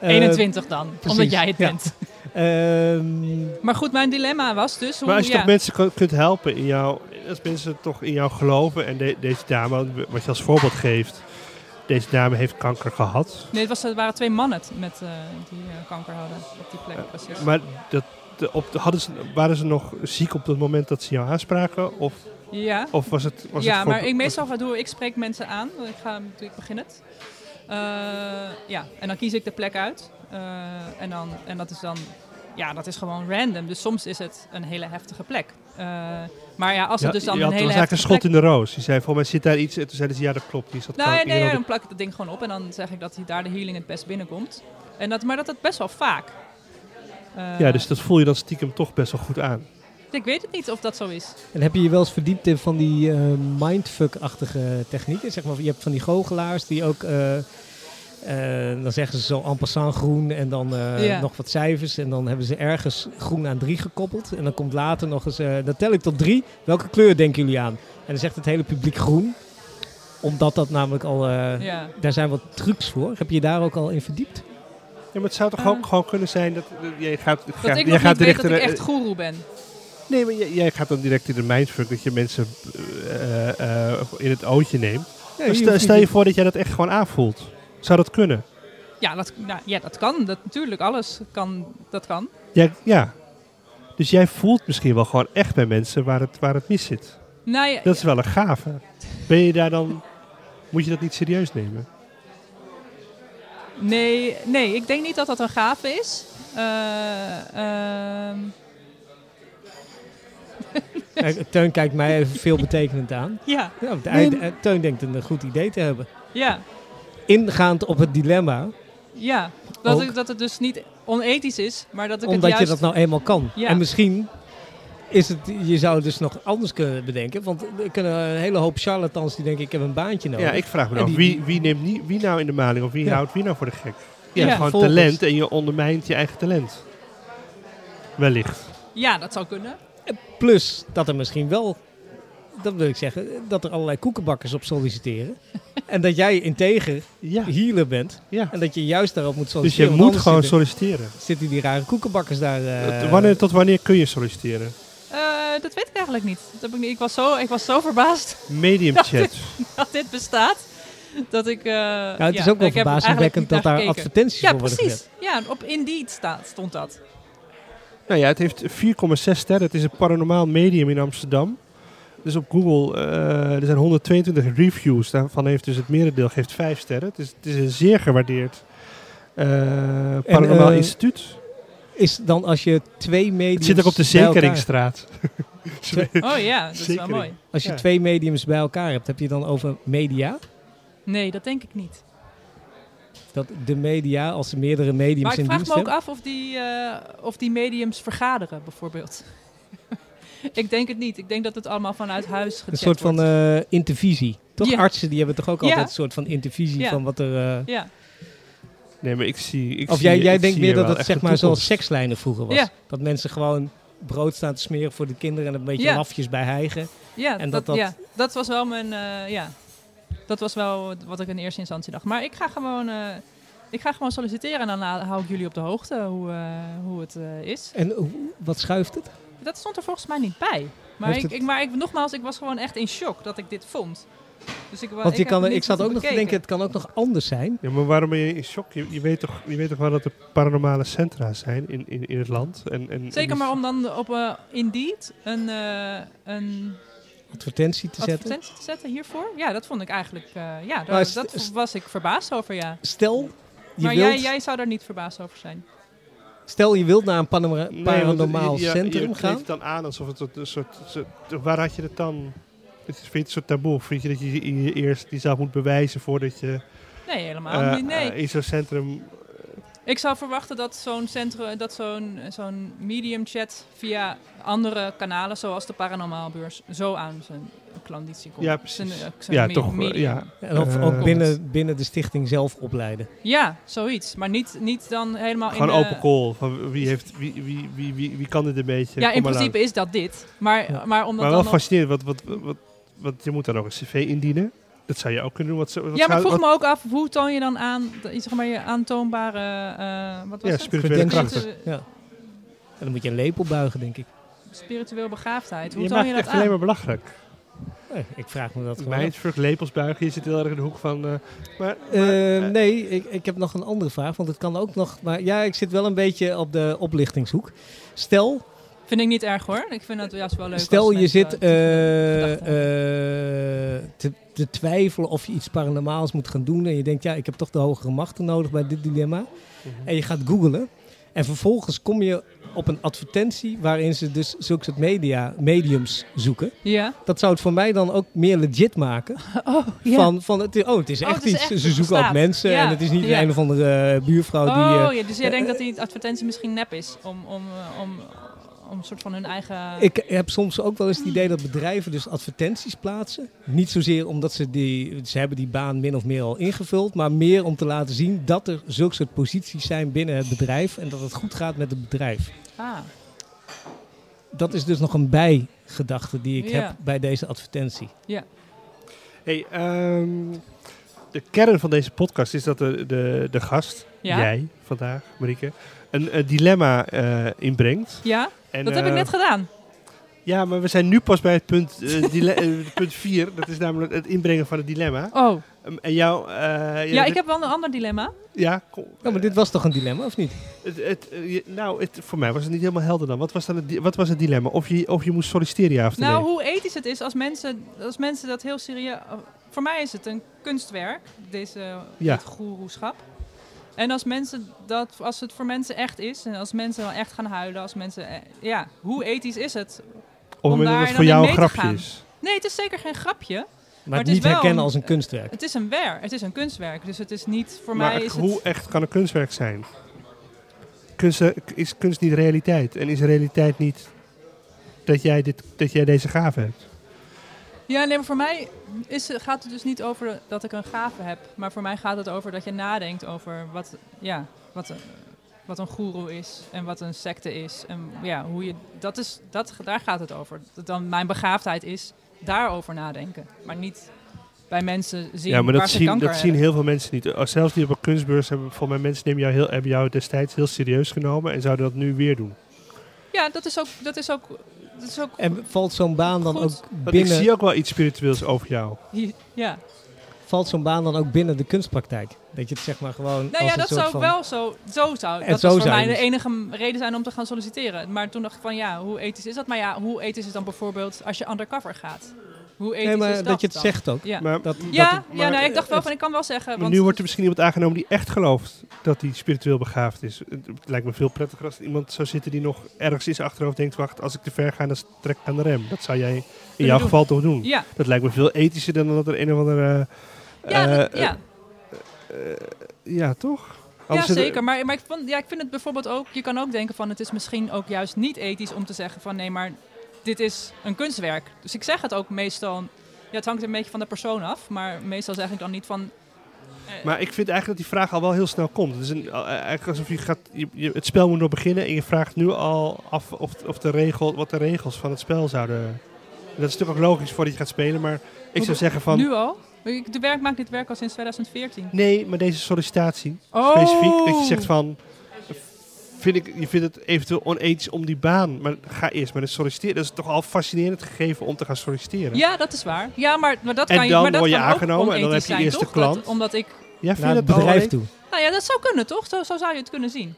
S2: 21 Eh, dan, omdat
S3: precies,
S2: jij het
S3: ja.
S2: bent.
S3: Eh, ehm,
S2: Maar goed, mijn dilemma was dus... Hoe,
S1: Maar als je
S2: ja.
S1: toch mensen kun- kunt helpen in jou, als mensen toch in jou geloven en de- deze dame, wat je als voorbeeld geeft, deze dame heeft kanker gehad.
S2: Nee, het, was, het waren twee mannen t- met, eh, die eh, kanker hadden op die plek. precies.
S1: Eh, Maar dat, de- op, de- hadden ze, waren ze nog ziek op het moment dat ze jou aanspraken? Of,
S2: ja,
S1: of Oh, was het. Was
S2: ja
S1: het voor-
S2: maar ik, meestal wat doe ik, ik spreek mensen aan. want Ik, ga, ik begin het. Eh, ja, en dan kies ik de plek uit. Eh, en, dan, en dat is dan... Ja, dat is gewoon random. Dus soms is het een hele heftige plek. Eh, maar ja, als
S1: Ja,
S2: het dus dan
S1: je
S2: een
S1: had-
S2: hele
S1: was eigenlijk
S2: heftige
S1: een schot in
S2: plek...
S1: de roos. Die zei: Volgens mij zit daar iets. En toen zeiden ze: Ja, dat klopt. Die zat
S2: Nou ja,
S1: kanker.
S2: nee, ja,
S1: Ik
S2: dan
S1: wilde-
S2: plak ik dat ding gewoon op en dan zeg ik dat hij daar de healing het best binnenkomt. En dat, maar dat dat best wel vaak. Eh,
S1: ja, dus dat voel je dan stiekem toch best wel goed aan.
S2: Ik weet het niet of dat zo is.
S3: En heb je je wel eens verdiept in van die eh, mindfuck-achtige technieken? Zeg maar, je hebt van die goochelaars die ook eh, Eh, dan zeggen ze zo en passant groen en dan eh,
S2: Ja.
S3: nog wat cijfers. En dan hebben ze ergens groen aan drie gekoppeld. En dan komt later nog eens, eh, dan tel ik tot drie. Welke kleur denken jullie aan? En dan zegt het hele publiek groen. Omdat dat namelijk al, eh,
S2: Ja.
S3: daar zijn wat trucs voor. Heb je je daar ook al in verdiept?
S1: Ja, maar het zou toch
S2: Eh.
S1: ook gewoon kunnen zijn dat eh, jij gaat,
S2: Dat
S1: gaat-
S2: ik
S1: jij
S2: nog niet
S1: gaat
S2: weet
S1: direct
S2: dat ik
S1: in-
S2: echt goeroe ben.
S1: Nee, maar jij, jij gaat dan direct in de mindfuck dat je mensen eh, eh, in het ootje neemt.
S3: Ja,
S1: Maar
S3: je
S1: stel,
S3: hoeft
S1: stel
S3: niet-
S1: je voor dat jij dat echt gewoon aanvoelt. Zou dat kunnen?
S2: Ja, dat, nou, ja, dat kan. Dat, natuurlijk, alles kan. Dat kan.
S1: Jij, ja. Dus jij voelt misschien wel gewoon echt bij mensen waar het, waar het mis zit.
S2: Nou, ja,
S1: Dat is wel een gave. Ben je daar dan... Moet je dat niet serieus nemen?
S2: Nee, nee, ik denk niet dat dat een gave is. Eh, ehm,
S3: Eh, Teun kijkt mij even veelbetekenend aan.
S2: ja,
S3: Ja, hij-
S1: Nee.
S3: eh, Teun denkt een eh, goed idee te hebben.
S2: ja,
S3: Ingaand op het dilemma,
S2: ja. Dat,
S3: Ook.
S2: ik, dat het dus niet onethisch is, maar dat ik
S3: omdat
S2: het
S3: je
S2: juist...
S3: dat nou eenmaal kan.
S2: Ja.
S3: En misschien is het, je zou het dus nog anders kunnen bedenken. Want er kunnen een hele hoop charlatans die denken, ik heb een baantje nodig.
S1: Ja, ik vraag me
S3: En
S1: af.
S3: die-
S1: Wie, wie neemt nie- wie nou in de maling of wie
S3: Ja.
S1: houdt wie nou voor de gek? Je
S2: Ja,
S1: hebt gewoon
S3: volgens-
S1: talent en je ondermijnt je eigen talent. Wellicht.
S2: Ja, dat zou kunnen.
S3: Plus dat er misschien wel, dat wil ik zeggen, dat er allerlei koekenbakkers op solliciteren. en dat jij integer
S1: Ja,
S3: healer bent.
S1: ja.
S3: En dat je juist daarop moet
S1: Dus je
S3: solliciteren. want
S1: moet
S3: anders
S1: gewoon
S3: zitten,
S1: solliciteren.
S3: zitten die rare koekenbakkers daar. eh,
S1: Tot wanneer, tot wanneer kun je solliciteren?
S2: Eh, dat weet ik eigenlijk niet. Dat heb ik, niet- ik, was zo, ik was zo verbaasd
S1: Medium chat.
S2: dat dit bestaat. Dat ik. eh,
S3: Nou, het is
S2: ja,
S3: ook wel
S2: ik heb er eigenlijk
S3: verbazingwekkend
S2: niet
S3: dat
S2: naar
S3: daar
S2: gekeken.
S3: advertenties
S2: Ja,
S3: voor worden gezet.
S2: precies. Ja, op Indeed staat, stond dat.
S1: nou ja, het heeft 4,6 sterren. Het is een paranormaal medium in Amsterdam. Dus op Google, eh, er zijn 122 reviews. Daarvan heeft dus het merendeel geeft 5 sterren. Het is, het is een zeer gewaardeerd eh, paranormaal
S3: eh,
S1: instituut.
S3: Is dan als je twee mediums.
S1: Het zit ook op de
S3: bij elkaar-
S1: Zekeringstraat.
S2: Oh ja, dat is wel
S1: Zeker
S2: mooi.
S3: Als je
S1: Ja.
S3: twee mediums bij elkaar hebt, heb je dan over media?
S2: Nee, dat denk ik niet.
S3: Dat de media, als er meerdere mediums
S2: Maar ik
S3: in
S2: vraag
S3: dienst
S2: me ook
S3: hebben-
S2: af of die, eh, of die mediums vergaderen, bijvoorbeeld. ik denk het niet. Ik denk dat het allemaal vanuit huis gecheckt
S3: Een soort van
S2: wordt.
S3: eh intervisie. Toch
S2: Ja.
S3: artsen die hebben toch ook
S2: Ja.
S3: altijd een soort van intervisie
S2: Ja.
S3: van wat er. eh,
S2: ja.
S1: Nee, maar ik zie... Ik
S3: of
S1: zie-
S3: jij, jij
S1: ik
S3: denkt
S1: zie hier
S3: meer dat
S1: wel
S3: het
S1: echt
S3: zeg
S1: de
S3: maar zoals
S1: toekomst.
S3: sekslijnen vroeger was.
S2: Ja.
S3: Dat mensen gewoon brood staan te smeren voor de kinderen en een beetje
S2: Ja.
S3: lafjes bij hijgen.
S2: Ja,
S3: En
S2: dat,
S3: dat dat-
S2: ja, dat was wel mijn. eh, ja, dat was wel wat ik in eerste instantie dacht. Maar ik ga gewoon, eh, ik ga gewoon solliciteren en dan ha- hou ik jullie op de hoogte hoe, eh, hoe het eh, is.
S3: En hoe- wat schuift het?
S2: Dat stond er volgens mij niet bij. Maar,
S3: Heeft
S2: ik,
S3: het-
S2: ik, maar ik, nogmaals, ik was gewoon echt in shock dat ik dit vond. Dus ik, wa-
S3: Want je
S2: ik, heb
S3: kan,
S2: het
S3: ik
S2: niet
S3: zat
S2: goed
S3: ook nog te
S2: bekeken.
S3: denken, het kan ook nog anders zijn.
S1: Ja, maar waarom ben je in shock? Je, je weet, toch, je weet toch wel dat er paranormale centra zijn in, in, in het land? En, en,
S2: Zeker
S1: en-
S2: maar om dan op eh, Indeed een, eh, een
S3: Advertentie te zetten.
S2: advertentie te zetten hiervoor. Ja, dat vond ik eigenlijk... eh, ja,
S3: Maar
S2: daar,
S3: is-
S2: dat
S3: is-
S2: was ik verbaasd over, ja.
S3: Stel je,
S2: maar
S3: wilt,
S2: jij, jij zou daar niet verbaasd over zijn.
S3: stel je wilt naar een panora-
S1: Nee,
S3: paranormaal
S1: want je- je-
S3: centrum
S1: Je kleedt
S3: gaan.
S1: het dan aan alsof het een soort... soort- waar had je het dan... Het is- Vind je het een soort taboe? Vind je dat je je- je eerst die zaak moet bewijzen voordat je
S2: Nee, helemaal
S1: eh,
S2: niet. Nee.
S1: eh, in zo'n centrum...
S2: Ik zou verwachten dat zo'n centrum, dat zo'n zo'n medium chat via andere kanalen, zoals de Paranormaalbeurs, zo aan zijn klanditie komt.
S1: Ja, precies.
S2: Zijn, eh, zijn
S1: Ja,
S2: me-
S1: toch, eh,
S2: medium.
S1: ja.
S3: En of
S1: Eh,
S3: ook binnen, binnen de stichting zelf opleiden.
S2: Ja, zoiets. Maar niet, niet dan helemaal
S1: Gewoon
S2: in... eh,
S1: open call. Van wie, heeft, wie, wie, wie, wie, wie kan dit een beetje?
S2: Ja,
S1: Kom
S2: in
S1: maar
S2: principe is dat dit. Maar,
S3: Ja.
S2: maar
S1: Maar
S2: omdat
S1: wel
S2: dan... nog-
S1: fascinerend, want, want, want, want je moet dan ook een cv indienen. Dat zou je ook kunnen doen. Wat, zo- wat
S2: Ja, maar
S1: zou-
S2: ik vroeg
S1: wat-
S2: me ook af, hoe toon je dan aan, dat- zeg maar, je aantoonbare, eh wat was
S1: Ja,
S2: het?
S1: spirituele
S3: Credentials.
S1: krachten.
S3: Ja. En dan moet je een lepel buigen, denk ik.
S2: Spiritueel begaafdheid, hoe
S1: Je
S2: toon
S1: maakt
S2: je
S1: het
S2: dat
S1: echt alleen
S2: aan?
S1: maar belachelijk.
S3: Eh, Ik vraag me dat gewoon. af.
S1: Mindfuck, lepels buigen. Je zit heel erg in de hoek van... eh, maar,
S3: Eh,
S1: maar, eh,
S3: nee, ik, ik heb nog een andere vraag, want het kan ook nog... Maar ja, ik zit wel een beetje op de oplichtingshoek. Stel,
S2: Vind ik niet erg hoor, ik vind dat juist wel leuk.
S3: stel
S2: als
S3: je
S2: mensen
S3: zit
S2: dat-
S3: eh,
S2: gedachten
S3: eh, te, te twijfelen of je iets paranormaals moet gaan doen... en je denkt, ja, ik heb toch de hogere machten nodig bij dit dilemma.
S1: mhm.
S3: En je gaat googlen. En vervolgens kom je op een advertentie waarin ze dus zulke soort media, mediums zoeken.
S2: Ja.
S3: Dat zou het voor mij dan ook meer legit maken.
S2: Oh,
S3: Van, van het, is- oh, het is
S2: Oh,
S3: echt
S2: het is
S3: iets.
S2: echt
S3: ze zoeken ook
S2: bestaat.
S3: mensen.
S2: Ja.
S3: En het is niet
S2: Ja.
S3: een of andere eh, buurvrouw die... eh,
S2: Oh, ja, dus jij denkt dat die advertentie misschien nep is om, om, eh, om, om een soort van hun eigen...
S3: Ik heb soms ook wel eens het idee dat bedrijven dus advertenties plaatsen. Niet zozeer omdat ze die, ze hebben die baan min of meer al ingevuld, maar meer om te laten zien dat er zulke soort posities zijn binnen het bedrijf en dat het goed gaat met het bedrijf.
S2: Ah,
S3: Dat is dus nog een bijgedachte die ik
S2: Ja.
S3: heb bij deze advertentie.
S1: Hey, ehm, de kern van deze podcast is dat de, de, de gast,
S2: Ja.
S1: jij vandaag, Marieke, een, eh, dilemma eh, inbrengt.
S2: ja,
S1: En,
S2: dat heb ik
S1: eh,
S2: net gedaan.
S1: Ja, maar we zijn nu pas bij het punt 4. punt vier. dat is namelijk het inbrengen van het dilemma.
S2: Oh,
S1: Ehm, en jou... eh,
S2: ja, ik heb Oh, wel een ander dilemma.
S1: Ja, kom.
S3: Nou, maar dit was toch een dilemma, of niet?
S1: Het, het, eh, je- nou, het, voor mij was het niet helemaal helder dan. Wat was, dan het, di- wat was het dilemma? Of je, of je moest solliciteren, ja of nee?
S2: Nou, hoe ethisch het is als mensen, als mensen dat heel serieus... Voor mij is het een kunstwerk, deze,
S1: Ja.
S2: dit goeroeschap. En als, mensen dat, als het voor mensen echt is, en als mensen dan echt gaan huilen, als mensen... eh, Ja, hoe ethisch is het?
S1: Op het
S2: om
S1: moment dat
S2: daar
S1: het voor
S2: dan in
S1: jou een
S2: mee te
S1: grapje
S2: gaan.
S1: is.
S2: Nee, het is zeker geen grapje.
S3: Maar,
S2: Maar
S3: het
S2: het is
S3: niet
S2: wel
S3: herkennen
S2: een- eh,
S3: als een kunstwerk.
S2: Het is een wer, het is een kunstwerk. Dus het is niet, voor
S1: maar
S2: mij
S1: ik-
S2: is
S1: hoe
S2: het...
S1: echt kan een kunstwerk zijn? Kunst, eh, k- is kunst niet realiteit? En is realiteit niet dat jij, dit, dat jij deze gave hebt?
S2: Ja, nee, maar voor mij is, gaat het dus niet over dat ik een gave heb. Maar voor mij gaat het over dat je nadenkt over wat, ja, wat, een- wat een goeroe is en wat een secte is. En ja, hoe je, dat is, dat, daar gaat het over. Dat dan mijn begaafdheid is daarover nadenken. Maar niet bij mensen zien
S1: ja, maar
S2: waar
S1: dat,
S2: ze
S1: zien,
S2: kanker
S1: dat zien
S2: hebben.
S1: heel veel mensen niet. Als Zelfs die op een kunstbeurs hebben, volgens mij mensen nemen jou heel, hebben jou destijds heel serieus genomen en zouden dat nu weer doen.
S2: Ja, dat is ook... Dat is ook, dat is ook
S3: En valt zo'n baan dan
S2: Goed.
S3: ook
S1: Want ik
S3: binnen,
S1: zie ook wel iets spiritueels over jou.
S2: ja.
S3: valt zo'n baan dan ook binnen de kunstpraktijk? Dat je het zeg maar gewoon
S2: Nou
S3: als
S2: ja,
S3: een
S2: dat
S3: soort
S2: zou
S3: van...
S2: wel zo, zo zou.
S3: Het
S2: Dat
S3: zo
S2: zou voor
S3: zijn
S2: mij de
S3: dus.
S2: enige m- reden zijn om te gaan solliciteren. Maar toen dacht ik van ja, hoe ethisch is dat? Maar ja, hoe ethisch is het dan bijvoorbeeld als je undercover gaat? Hoe ethisch
S3: Nee, maar
S2: is dat
S3: dat, je het
S2: dan?
S3: zegt ook.
S2: Ja,
S1: Maar,
S3: Dat,
S2: ja,
S3: dat
S2: ja nou, ik
S1: eh,
S2: dacht wel
S1: het-
S2: van ik kan wel zeggen.
S1: maar
S2: Want
S1: nu wordt er misschien iemand aangenomen die echt gelooft dat hij spiritueel begaafd is. Het het lijkt me veel prettiger als er iemand zou zitten die nog ergens in zijn achterhoofd denkt... wacht, als ik te ver ga, dan trek ik aan de rem. Dat zou jij in jouw
S2: doen.
S1: geval toch doen?
S2: ja,
S1: Dat lijkt me veel ethischer dan dat er een of andere... eh,
S2: ja,
S1: eh,
S2: dat- ja.
S1: eh, ja, toch?
S2: ja
S1: Anders is het-
S2: zeker. Maar, maar ik, vond, ja, ik vind het bijvoorbeeld ook. Je kan ook denken van het is misschien ook juist niet ethisch om te zeggen van nee, maar dit is een kunstwerk. Dus ik zeg het ook meestal. Ja, het hangt een beetje van de persoon af. Maar meestal zeg ik dan niet van
S1: Maar ik vind eigenlijk dat die vraag al wel heel snel komt. Het is een, eh, eigenlijk alsof je gaat, je, je- het spel moet nog beginnen en je vraagt nu al af of, of de regel, wat de regels van het spel zouden... Dat is natuurlijk ook logisch voordat je gaat spelen, maar ik zou zeggen van...
S2: nu al. Ik de werk, maak dit werk al sinds 2014.
S1: Nee, maar deze sollicitatie,
S2: Oh.
S1: specifiek, dat je zegt van... Vind ik, je vindt het eventueel onethisch om die baan, maar ga eerst maar eens solliciteren. Dat is toch al fascinerend gegeven om te gaan solliciteren.
S2: Ja, dat is waar. Ja, maar, maar dat
S1: En
S2: kan
S1: dan
S2: je, maar dat
S1: word je
S2: kan ook
S1: aangenomen en dan heb
S2: onethisch
S1: je
S2: zijn,
S1: eerst de
S2: toch? Dat-
S1: klant.
S2: omdat ik,
S1: Jij
S3: naar
S1: vindt
S3: het
S1: het al
S3: bedrijf
S1: een-
S3: toe.
S2: nou ja, dat zou kunnen, toch? Zo, zo zou je het kunnen zien.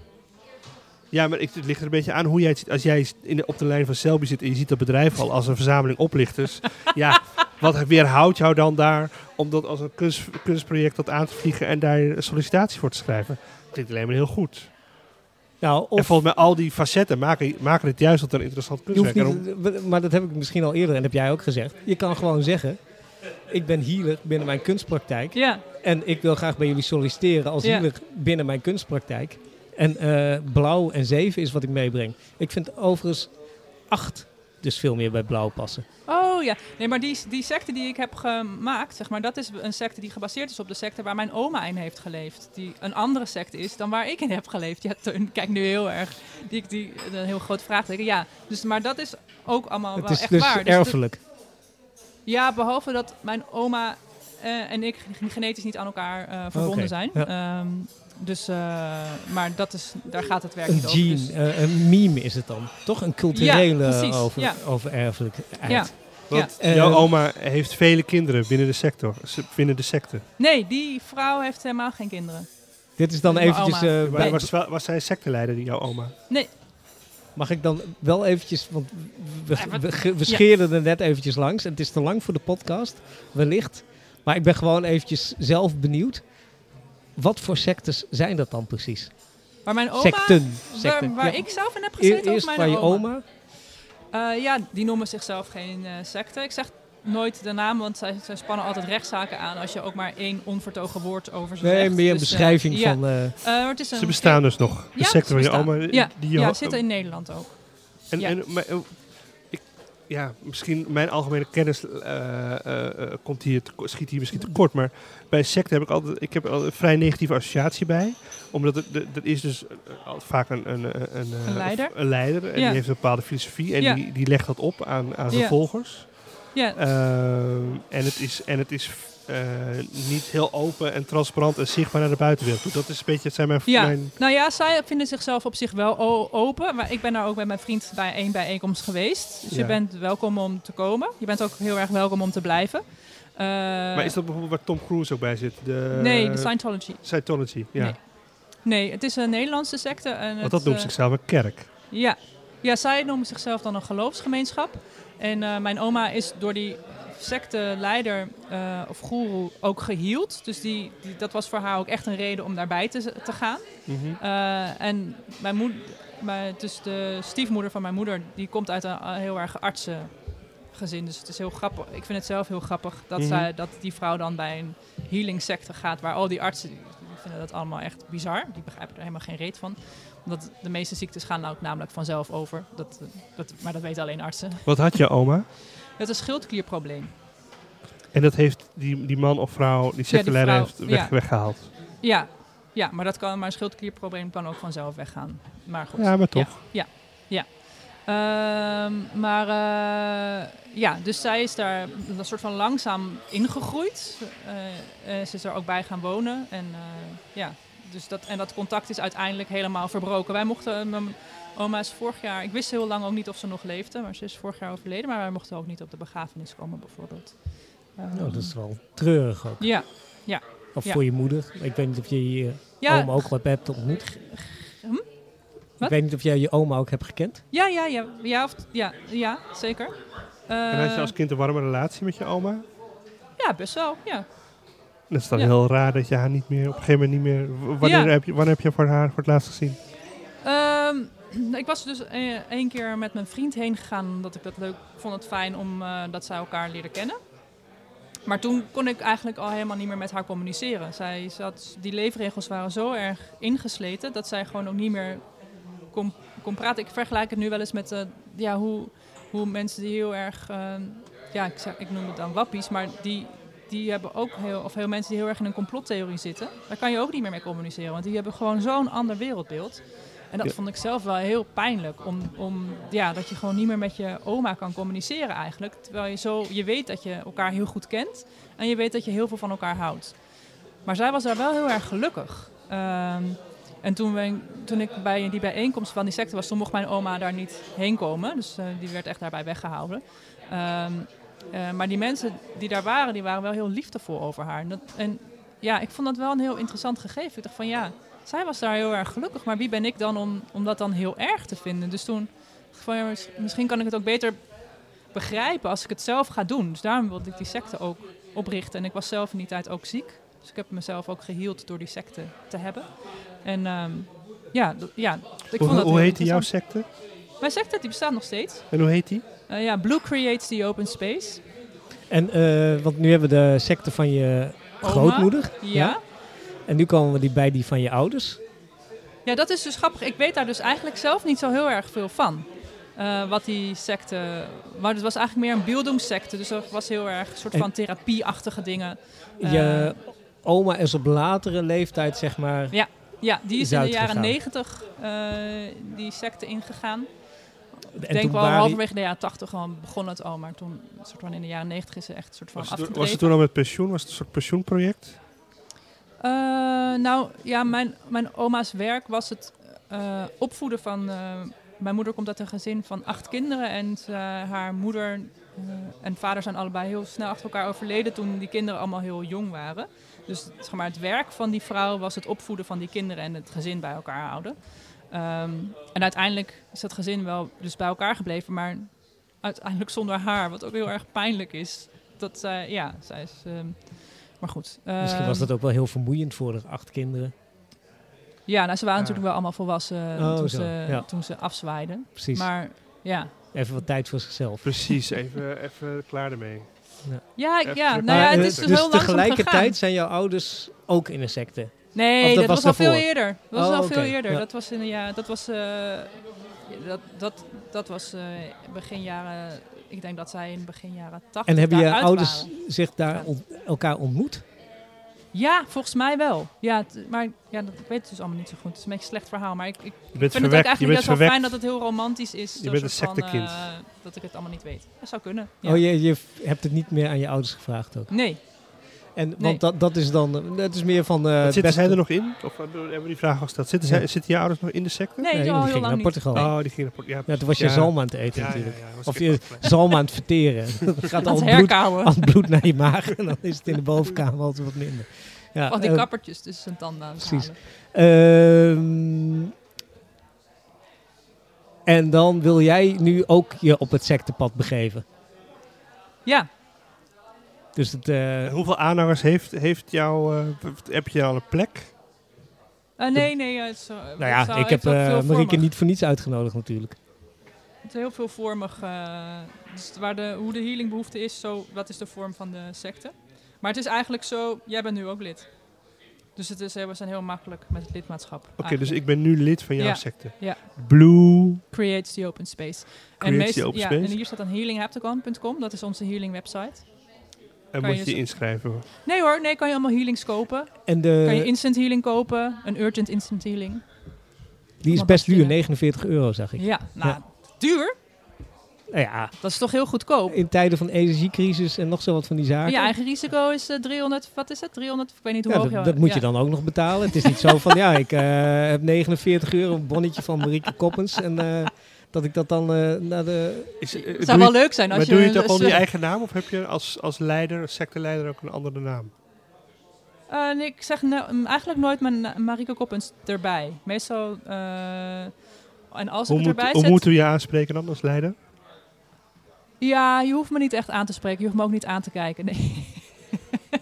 S1: Ja, maar ik, het ligt er een beetje aan hoe jij het ziet. Als jij in de- op de lijn van Selby zit en je ziet dat bedrijf al als een verzameling oplichters. ja, wat weerhoudt jou dan daar om dat als een kunst, kunstproject dat aan te vliegen en daar een sollicitatie voor te schrijven? Klinkt alleen maar heel goed.
S3: Nou,
S1: en
S3: of
S1: volgens mij al die facetten maken, maken het juist tot een interessant
S3: je hoeft
S1: kunstwerk. Daarom-
S3: niet, w- maar dat heb ik misschien al eerder en heb jij ook gezegd. Je kan gewoon zeggen, ik ben healer binnen mijn kunstpraktijk
S2: Ja,
S3: en ik wil graag bij jullie solliciteren als
S2: Ja.
S3: healer binnen mijn kunstpraktijk. En eh, blauw en zeven is wat ik meebreng. Ik vind overigens acht dus veel meer bij blauw passen.
S2: oh ja. Nee, maar die, die secte die ik heb gemaakt, zeg maar, dat is een secte die gebaseerd is op de secte waar mijn oma in heeft geleefd. Die een andere secte is dan waar ik in heb geleefd. Ja, Teun, kijk nu heel erg. Die, die, een heel groot vraagteken. Ja, dus, maar dat is ook allemaal
S3: Het
S2: wel
S3: is
S2: echt
S3: dus
S2: waar. Dus dat-
S3: erfelijk.
S2: Ja, behalve dat mijn oma eh, en ik gen- genetisch niet aan elkaar eh, verbonden
S3: Oké,
S2: zijn. Ehm, dus, eh, maar dat is, daar gaat het werk
S3: Een
S2: niet over.
S3: gene,
S2: dus-
S3: eh, een meme is het dan. Toch een culturele
S2: precies,
S3: over,
S2: ja.
S3: over erfelijk
S2: Ja.
S1: Want
S3: Ja.
S1: jouw
S3: Eh,
S1: oma heeft vele kinderen binnen de sector. Ze- Binnen de secte.
S2: Nee, die vrouw heeft helemaal geen kinderen.
S3: Dit is dan
S2: Mijn
S3: eventjes...
S2: oma.
S3: eh,
S1: Maar
S3: bij-
S1: was, wel- was zij secteleider, die jouw oma?
S3: Mag ik dan wel eventjes, want we,
S2: Ja, wat-
S3: we, ge- we scheerden er net eventjes langs en het is te lang voor de podcast, wellicht. Maar ik ben gewoon eventjes zelf benieuwd. Wat voor sectes zijn dat dan precies?
S2: Maar mijn oma,
S3: Secten.
S2: waar, waar
S3: ja.
S2: ik zelf in heb
S3: E-
S2: gezeten, of
S3: Eerst
S2: mijn
S3: van je oma.
S2: Eh, ja, die noemen zichzelf geen eh, secte. Ik zeg nooit de naam, want zij, zij spannen altijd rechtszaken aan als je ook maar één onvertogen woord over ze
S3: Nee,
S2: zegt.
S3: meer een
S2: Dus, eh,
S3: beschrijving
S2: ja.
S3: van... eh,
S2: Eh, maar het is een,
S1: Ze bestaan dus nog. De
S2: Ja,
S1: secte
S2: ze
S1: van je
S2: bestaan.
S1: oma.
S2: Ja,
S1: Die
S2: ja,
S1: jo-
S2: zitten in Nederland ook.
S1: En,
S2: Ja.
S1: en, maar, eh, ik, ja, misschien mijn algemene kennis eh, eh, eh, komt hier te- schiet hier misschien tekort. Maar bij secte heb ik altijd ik heb al een vrij negatieve associatie bij. Omdat het, de- dat is dus eh, al vaak een, een, een, eh,
S2: Een leider.
S1: een leider. En
S2: Ja.
S1: die heeft een bepaalde filosofie. En
S2: Ja.
S1: die, die legt dat op aan, aan zijn
S2: Ja.
S1: volgers.
S2: Ja,
S1: Ehm, en het is, en het is eh, niet heel open en transparant en zichtbaar naar de buitenwereld. toe. Dat is een beetje, het zijn mijn,
S2: Ja,
S1: mijn
S2: nou ja, zij vinden zichzelf op zich wel o- open. Maar ik ben daar ook met mijn vriend bij één bijeenkomst geweest. Dus
S1: Ja.
S2: je bent welkom om te komen. Je bent ook heel erg welkom om te blijven. Eh,
S1: Maar is eh, dat bijvoorbeeld waar Tom Cruise ook bij zit? De,
S2: Nee, de Scientology.
S1: Scientology, ja.
S2: Nee, Nee, het is een Nederlandse secte. En
S1: Want dat noemt
S2: zichzelf.
S1: zichzelf een kerk.
S2: Ja. ja, zij noemen zichzelf dan een geloofsgemeenschap. En eh, mijn oma is door die secte-leider eh, of goeroe ook gehield. Dus die, die, dat was voor haar ook echt een reden om daarbij te, te gaan.
S1: Mhm.
S2: Eh, en mijn moeder, mijn, dus de stiefmoeder van mijn moeder, die komt uit een eh, heel erg artsengezin. Dus het is heel grappig. Ik vind het zelf heel grappig dat,
S1: Mhm.
S2: zij, dat die vrouw dan bij een healing secte gaat, waar al die artsen, die vinden dat allemaal echt bizar. Die begrijpen er helemaal geen reet van. Omdat de meeste ziektes gaan nou namelijk vanzelf over. Dat, eh, dat, maar dat weten alleen artsen.
S1: Wat had je oma?
S2: Het is een schildklierprobleem.
S1: En dat heeft die, die man of vrouw, die secteleider,
S2: vrouw,
S1: heeft weg,
S2: ja.
S1: weggehaald.
S2: Ja, ja maar, dat kan, maar een schildklierprobleem kan ook vanzelf weggaan. Maar goed.
S1: Ja, maar toch.
S2: Ja, ja. ja. Ehm, maar eh, ja, dus zij is daar een soort van langzaam ingegroeid. Eh, eh, ze is er ook bij gaan wonen. En, eh, ja, dus dat, en dat contact is uiteindelijk helemaal verbroken. Wij mochten, eh, mijn oma is vorig jaar, ik wist heel lang ook niet of ze nog leefde, maar ze is vorig jaar overleden. Maar wij mochten ook niet op de begrafenis komen bijvoorbeeld. Ehm,
S3: Nou, dat is wel treurig ook.
S2: Ja,
S3: Of
S2: Ja.
S3: voor je moeder. Ik weet niet of je je
S2: ja,
S3: oma ook wat hebt ontmoet.
S2: hm?
S3: Ik
S2: Wat?
S3: weet niet of jij je oma ook hebt gekend.
S2: ja, ja, ja, ja, of, ja, ja, zeker.
S1: en had je
S2: Eh,
S1: als kind een warme relatie met je oma?
S2: Ja, best wel, ja.
S1: Dat is dan
S2: Ja.
S1: heel raar dat je haar niet meer, op een gegeven moment niet meer... w- Wanneer,
S2: Ja.
S1: heb, je, wanneer heb je voor haar voor het laatst gezien?
S2: Ehm, ik was dus eh, één keer met mijn vriend heen gegaan omdat ik dat leuk vond het fijn om eh, dat zij elkaar leren kennen. Maar toen kon ik eigenlijk al helemaal niet meer met haar communiceren. Zij zat, die leefregels waren zo erg ingesleten dat zij gewoon ook niet meer kon, kon praten. Ik vergelijk het nu wel eens met eh, ja, hoe, hoe mensen die heel erg, eh, ja, ik, zeg- ik noem het dan wappies, maar die, die hebben ook heel, of heel mensen die heel erg in een complottheorie zitten, daar kan je ook niet meer mee communiceren, want die hebben gewoon zo'n ander wereldbeeld. En dat
S1: Ja.
S2: vond ik zelf wel heel pijnlijk. Om, om, ja, dat je gewoon niet meer met je oma kan communiceren eigenlijk. Terwijl je zo, je weet dat je elkaar heel goed kent. En je weet dat je heel veel van elkaar houdt. Maar zij was daar wel heel erg gelukkig. Ehm, en toen, we, toen ik bij die bijeenkomst van die secte was, toen mocht mijn oma daar niet heen komen. Dus eh, die werd echt daarbij weggehouden. Ehm, eh, maar die mensen die daar waren, die waren wel heel liefdevol over haar. En, dat, en ja, ik vond dat wel een heel interessant gegeven. Ik dacht van ja, zij was daar heel erg gelukkig, maar wie ben ik dan om, om dat dan heel erg te vinden? Dus toen dacht ik van ja, mis- misschien kan ik het ook beter begrijpen als ik het zelf ga doen. Dus daarom wilde ik die secte ook oprichten. En ik was zelf in die tijd ook ziek. Dus ik heb mezelf ook geheeld door die secte te hebben. En ehm, ja, d- ja, ik vond
S1: Hoe,
S2: dat
S1: hoe
S2: heel
S1: heet die jouw
S2: interessant.
S1: secte?
S2: Mijn secte die bestaat nog steeds.
S1: En hoe heet die?
S2: Eh, ja, Blue creates the open space.
S3: En, eh, want nu hebben we de secte van je
S2: Oma?
S3: grootmoeder.
S2: Ja.
S3: En nu komen we die bij die van je ouders.
S2: ja, dat is dus grappig. Ik weet daar dus eigenlijk zelf niet zo heel erg veel van. Eh, wat die secte... Maar het was eigenlijk meer een bildungssecte. Dus dat was heel erg een soort
S3: En-
S2: van therapieachtige dingen.
S3: Je oma is op latere leeftijd, zeg maar.
S2: Ja, die is
S3: Is
S2: in de
S3: uitgegaan.
S2: jaren negentig eh, die secte ingegaan. Ik
S3: En
S2: denk
S3: toen
S2: wel
S3: waren die-
S2: halverwege de jaren tachtig al begon het al. Maar toen soort van in de jaren negentig is ze echt soort van
S1: Was het,
S2: afgedreven.
S1: was het toen al met pensioen? Was het een soort pensioenproject?
S2: Eh, nou ja, mijn, mijn oma's werk was het eh, opvoeden van. eh, mijn moeder komt uit een gezin van acht kinderen. En ze- haar moeder eh, en vader zijn allebei heel snel achter elkaar overleden. toen die kinderen allemaal heel jong waren. Dus zeg maar, het werk van die vrouw was het opvoeden van die kinderen en het gezin bij elkaar houden. Ehm, en uiteindelijk is dat gezin wel dus bij elkaar gebleven, maar uiteindelijk zonder haar, wat ook heel erg pijnlijk is. Dat zij, ja, zij is. ehm, maar goed.
S3: Misschien was
S2: ehm,
S3: dat ook wel heel vermoeiend voor de acht kinderen.
S2: ja, nou, ze waren
S1: Ja.
S2: natuurlijk wel allemaal volwassen
S3: Ah.
S2: eh,
S3: Oh,
S2: toen,
S3: zo,
S2: ze,
S3: ja.
S2: toen ze afzwaaiden.
S3: Precies.
S2: Maar ja.
S3: Even wat tijd voor zichzelf.
S1: Precies, even, even klaar ermee.
S2: Ja, ik-
S1: Even
S2: ja,
S1: terug.
S2: nou ja,
S1: Maar,
S2: het
S3: eh,
S2: is dus,
S1: dus
S2: heel langzaam
S3: tegelijkertijd
S2: gegaan.
S3: zijn jouw ouders ook in een secte
S2: Nee,
S3: Of dat
S2: dat, was, al
S3: was daarvoor?
S2: veel eerder. Dat was
S3: Oh,
S2: al
S3: oké,
S2: veel eerder.
S3: ja.
S2: Dat was in de jaren, dat was, eh, dat, dat, dat was eh, begin jaren, ik denk dat zij in begin jaren 80
S3: En hebben je
S2: daaruit
S3: ouders
S2: waren.
S3: zich daar
S2: Ja.
S3: ont- elkaar ontmoet?
S2: Ja, volgens mij wel. Ja, t- maar ja, dat, ik weet het dus allemaal niet zo goed. Het is een beetje een slecht verhaal, maar ik, ik
S1: Je bent
S2: vind het ook
S1: verwekt. Je
S2: eigenlijk
S1: bent
S2: best wel fijn
S1: verwekt.
S2: dat het heel romantisch is. Zo
S1: bent een
S2: soort van,
S1: sectekind.
S2: eh, dat ik het allemaal niet weet. Dat zou kunnen. Ja.
S3: Oh, je, je f- hebt het niet meer aan je ouders gevraagd ook.
S2: Nee,
S3: En, want
S2: Nee.
S3: dat, dat is dan, eh, dat is meer van... eh,
S1: Zitten
S3: best-
S1: zij er nog in? Of eh, hebben we die vraag al gesteld? Zitten,
S3: Ja.
S1: zij, zitten je ouders nog in de secte?
S2: nee,
S3: Nee,
S2: al
S3: die
S2: heel
S3: ging
S2: lang
S3: naar
S2: niet.
S3: Portugal.
S2: Nee.
S1: Oh, die gingen naar
S3: Ja, toen was je zalm aan het eten
S1: Ja, ja,
S3: natuurlijk.
S1: ja, was
S3: Of
S1: ik
S3: je
S1: ook blij.
S3: zalm aan het verteren. dat gaat
S2: Aan
S3: al
S2: het
S3: bloed,
S2: herkauwen.
S3: al het bloed naar je maag. En dan is het in de bovenkamer altijd wat minder. Ja,
S2: Van die
S3: eh,
S2: kappertjes tussen zijn tanden aan het
S3: precies.
S2: halen.
S3: Ehm, en dan wil jij nu ook je op het sectepad begeven.
S2: Ja, Eh,
S3: Dus het, eh,
S1: En Hoeveel aanhangers heeft, heeft jouw... eh, heb je al een plek?
S2: Eh, nee, nee. eh, het is, eh,
S3: nou
S2: het
S3: ja,
S2: zou-
S3: ik
S2: het
S3: heb
S2: is ook
S3: eh,
S2: veel voor
S3: Marieke
S2: me.
S3: niet voor niets uitgenodigd natuurlijk.
S2: Het is heel veel vormig. eh, dus waar de, hoe de healingbehoefte is, zo, dat is de vorm van de secte. Maar het is eigenlijk zo, jij bent nu ook lid. Dus het is, eh, we zijn heel makkelijk met het lidmaatschap.
S1: Oké, dus ik ben nu lid van jouw
S2: Ah. Ja,
S1: secte.
S2: ja.
S1: Blue. eh,
S2: Creates the open space.
S1: Creates
S2: meest-
S1: the open
S2: ja,
S1: space.
S2: En hier staat dan healinghapticon.com, dat is onze healing website.
S1: En
S2: Kan
S1: moet
S2: je
S1: je
S2: dus-
S1: je inschrijven. hoor.
S2: Nee hoor, nee, kan je allemaal healings kopen.
S3: En de,
S2: kan je instant healing kopen, een urgent instant healing.
S3: die is
S2: allemaal
S3: best duur,
S2: papieren.
S3: 49 euro zag ik.
S2: Ja, nou,
S3: Ja.
S2: duur,
S3: Nou ja,
S2: dat is toch heel goedkoop.
S3: in tijden van energiecrisis en nog zo wat van die zaken.
S2: Je eigen risico is eh, 300, wat is het? 300, ik weet niet hoe
S3: Ja,
S2: hoog.
S3: dat,
S2: je-
S3: dat moet je
S2: ja.
S3: dan ook nog betalen. Het is niet zo van, ja, ik eh, heb 49 euro een bonnetje van Marieke Koppens. En eh, dat ik dat dan eh, naar de...
S1: Is, eh,
S2: Het
S1: doe
S2: zou
S1: je-
S2: wel leuk zijn als
S1: maar
S2: je...
S1: doe je het ook
S2: een-
S1: onder je eigen naam? Of heb je als, als leider, als secteleider ook een andere naam?
S2: Eh, nee, ik zeg nou, mm, eigenlijk nooit mijn na- Marike Koppens erbij. Meestal... eh, en als
S1: Hoe,
S2: ik het
S1: moet,
S2: erbij
S1: hoe
S2: zet...
S1: moeten we je aanspreken dan als leider?
S2: Ja, je hoeft me niet echt aan te spreken. Je hoeft me ook niet aan te kijken. Nee,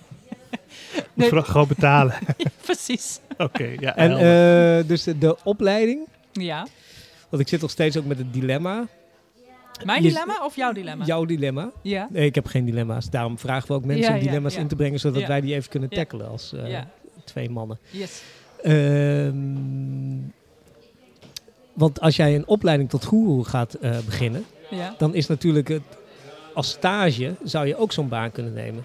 S1: Moet je vooral gewoon betalen.
S2: precies.
S1: Oké, ja.
S3: En
S1: helder.
S3: eh, dus de, de opleiding,
S2: Ja.
S3: want ik zit nog steeds ook met het dilemma.
S2: Mijn
S3: Je-
S2: dilemma of jouw dilemma?
S3: Jouw dilemma.
S2: Ja.
S3: Nee, ik heb geen dilemma's. Daarom vragen we ook mensen
S2: Ja,
S3: om
S2: ja,
S3: dilemma's
S2: ja.
S3: in te brengen, zodat
S2: Ja.
S3: wij die even kunnen
S2: Ja.
S3: tackelen als eh,
S2: ja.
S3: twee mannen.
S2: Yes.
S3: Ehm, want als jij een opleiding tot guru gaat eh, beginnen,
S2: Ja.
S3: dan is natuurlijk het, als stage zou je ook zo'n baan kunnen nemen.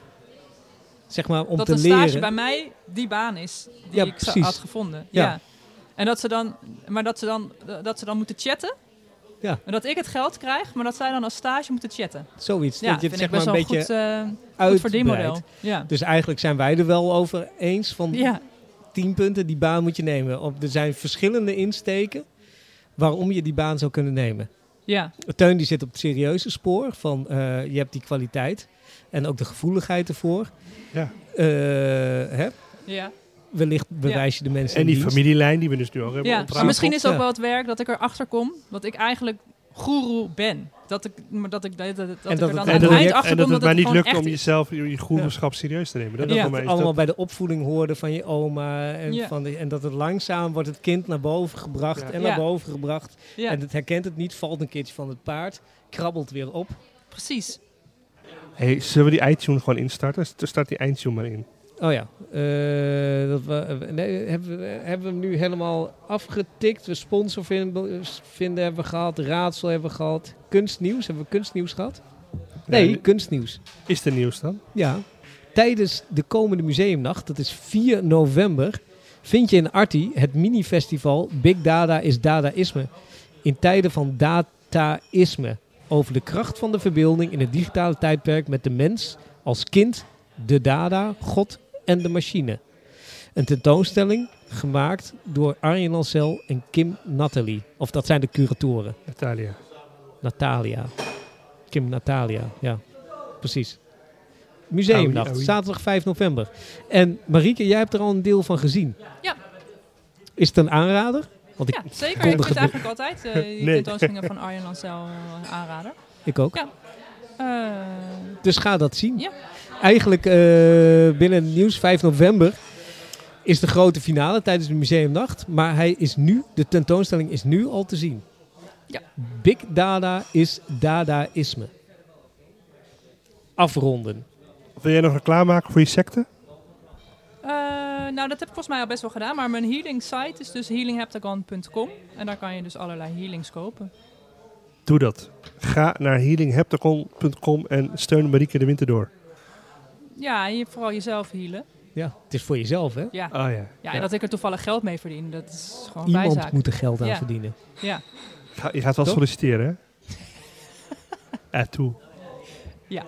S3: Zeg maar om
S2: dat
S3: te
S2: een
S3: leren.
S2: stage bij mij die baan is die
S3: Ja,
S2: ik zo-
S3: precies.
S2: had gevonden.
S3: Ja.
S2: Ja. En dat ze dan, maar dat ze dan, dat ze dan moeten chatten.
S3: Ja.
S2: En dat ik het geld krijg, maar dat zij dan als stage moeten chatten.
S3: Zoiets.
S2: Ja,
S3: Dus dat je
S2: vind
S3: het
S2: ik
S3: zeg
S2: best
S3: maar een
S2: wel een
S3: beetje
S2: goed, eh, goed
S3: uitbreidt.
S2: verdienmodel. Ja.
S3: Dus eigenlijk zijn wij er wel over eens van
S2: ja.
S3: tien punten die baan moet je nemen. Op, er zijn verschillende insteken waarom je die baan zou kunnen nemen.
S2: Ja.
S3: Teun die zit op het serieuze spoor van eh, je hebt die kwaliteit en ook de gevoeligheid ervoor.
S1: Ja.
S3: Eh, hè?
S2: Ja.
S3: Wellicht bewijs je de mensen
S1: En
S3: in
S1: die
S3: dienst.
S1: familielijn die we dus nu ook hebben
S2: ja.
S1: ontrafeld.
S2: Maar misschien is ook
S3: Ja.
S2: wel het werk dat ik erachter kom dat ik eigenlijk goeroe ben. Dat ik, maar dat ik, dat, dat, dat ik
S3: dat
S2: er
S3: het-
S2: dan
S3: en
S2: aan
S3: dat
S2: het
S3: het-
S2: eind
S1: en
S2: achter
S1: dat
S2: kom
S1: het
S2: dat
S1: maar
S2: het
S1: niet
S2: gewoon
S1: lukt
S2: echt
S1: om jezelf, je groenschap serieus te nemen. Dat
S3: En
S1: is
S3: dat
S1: voor
S3: het
S1: mij
S3: allemaal bij de opvoeding hoorde van je oma. En,
S2: Ja.
S3: van de- en dat het langzaam wordt het kind naar boven gebracht
S1: Ja.
S3: en naar
S2: Ja.
S3: boven gebracht.
S2: Ja,
S3: En het herkent het niet, valt een keertje van het paard, krabbelt weer op.
S2: precies.
S1: Hey, zullen we die iTunes gewoon instarten? St- Start die iTunes maar in.
S3: Oh ja, eh, dat we, nee, hebben, we, hebben we hem nu helemaal afgetikt. We sponsor vinden, vinden hebben we gehad, raadsel hebben we gehad. Kunstnieuws, hebben we kunstnieuws gehad? Nee,
S1: Ja,
S3: kunstnieuws.
S1: Eh, Is er nieuws dan?
S3: Ja. Tijdens de komende museumnacht, dat is 4 november, vind je in Arti het mini-festival Big Dada is Dadaïsme. In tijden van dataïsme. Over de kracht van de verbeelding in het digitale tijdperk met de mens als kind, de dada, God en de machine. Een tentoonstelling gemaakt door Arjen Lancel en Kim Natalie. Of dat zijn de curatoren.
S1: Natalia.
S3: Natalia. Kim Natalia, ja. Precies. Museumnacht,
S1: Oei, oei.
S3: zaterdag 5 november. En Marieke, jij hebt er al een deel van gezien.
S2: Ja.
S3: Is het een aanrader? Want ik,
S2: Ja, zeker. Ik
S3: kondig
S2: vind
S3: het-
S2: het eigenlijk altijd eh, die
S1: Nee.
S2: tentoonstellingen van Arjen Lancel eh, aanrader.
S3: ik ook.
S2: Ja. Eh,
S3: Dus ga dat zien.
S2: Ja.
S3: Eigenlijk eh, binnen het nieuws 5 november is de grote finale tijdens de museumnacht. Maar hij is nu, de tentoonstelling is nu al te zien.
S2: Ja.
S3: Big Dada is Dadaïsme. Afronden.
S1: Wil jij nog reclame maken voor je secte?
S2: eh, nou, dat heb ik volgens mij al best wel gedaan. Maar mijn healing site is dus healingheptagon.com. En daar kan je dus allerlei healings kopen.
S1: Doe dat. Ga naar healingheptacon.com en steun Marieke de Winter door.
S2: Ja, en je, vooral jezelf healen.
S3: Ja, het is voor jezelf, hè?
S2: Ja.
S1: Ah ja.
S2: ja, en dat ik er toevallig geld mee verdien, dat is gewoon
S3: Oh. Iemand
S2: bijzaak.
S3: moet er geld aan
S2: Ja.
S3: verdienen.
S2: Ja,
S1: Ga- je gaat wel
S3: Toch?
S1: solliciteren, hè? Eh, toe.
S2: ja.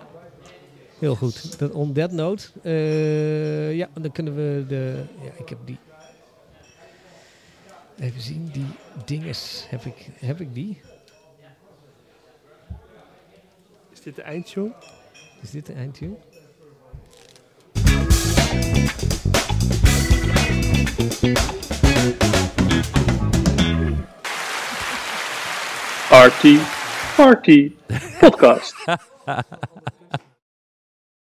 S3: Heel goed. Dat on that note. eh, ja, dan kunnen we de... Ja, ik heb die... Even zien, die dinges. Heb ik, heb ik die?
S1: Is dit de eindtune?
S3: Is dit de eindtune?
S4: RT Party Podcast.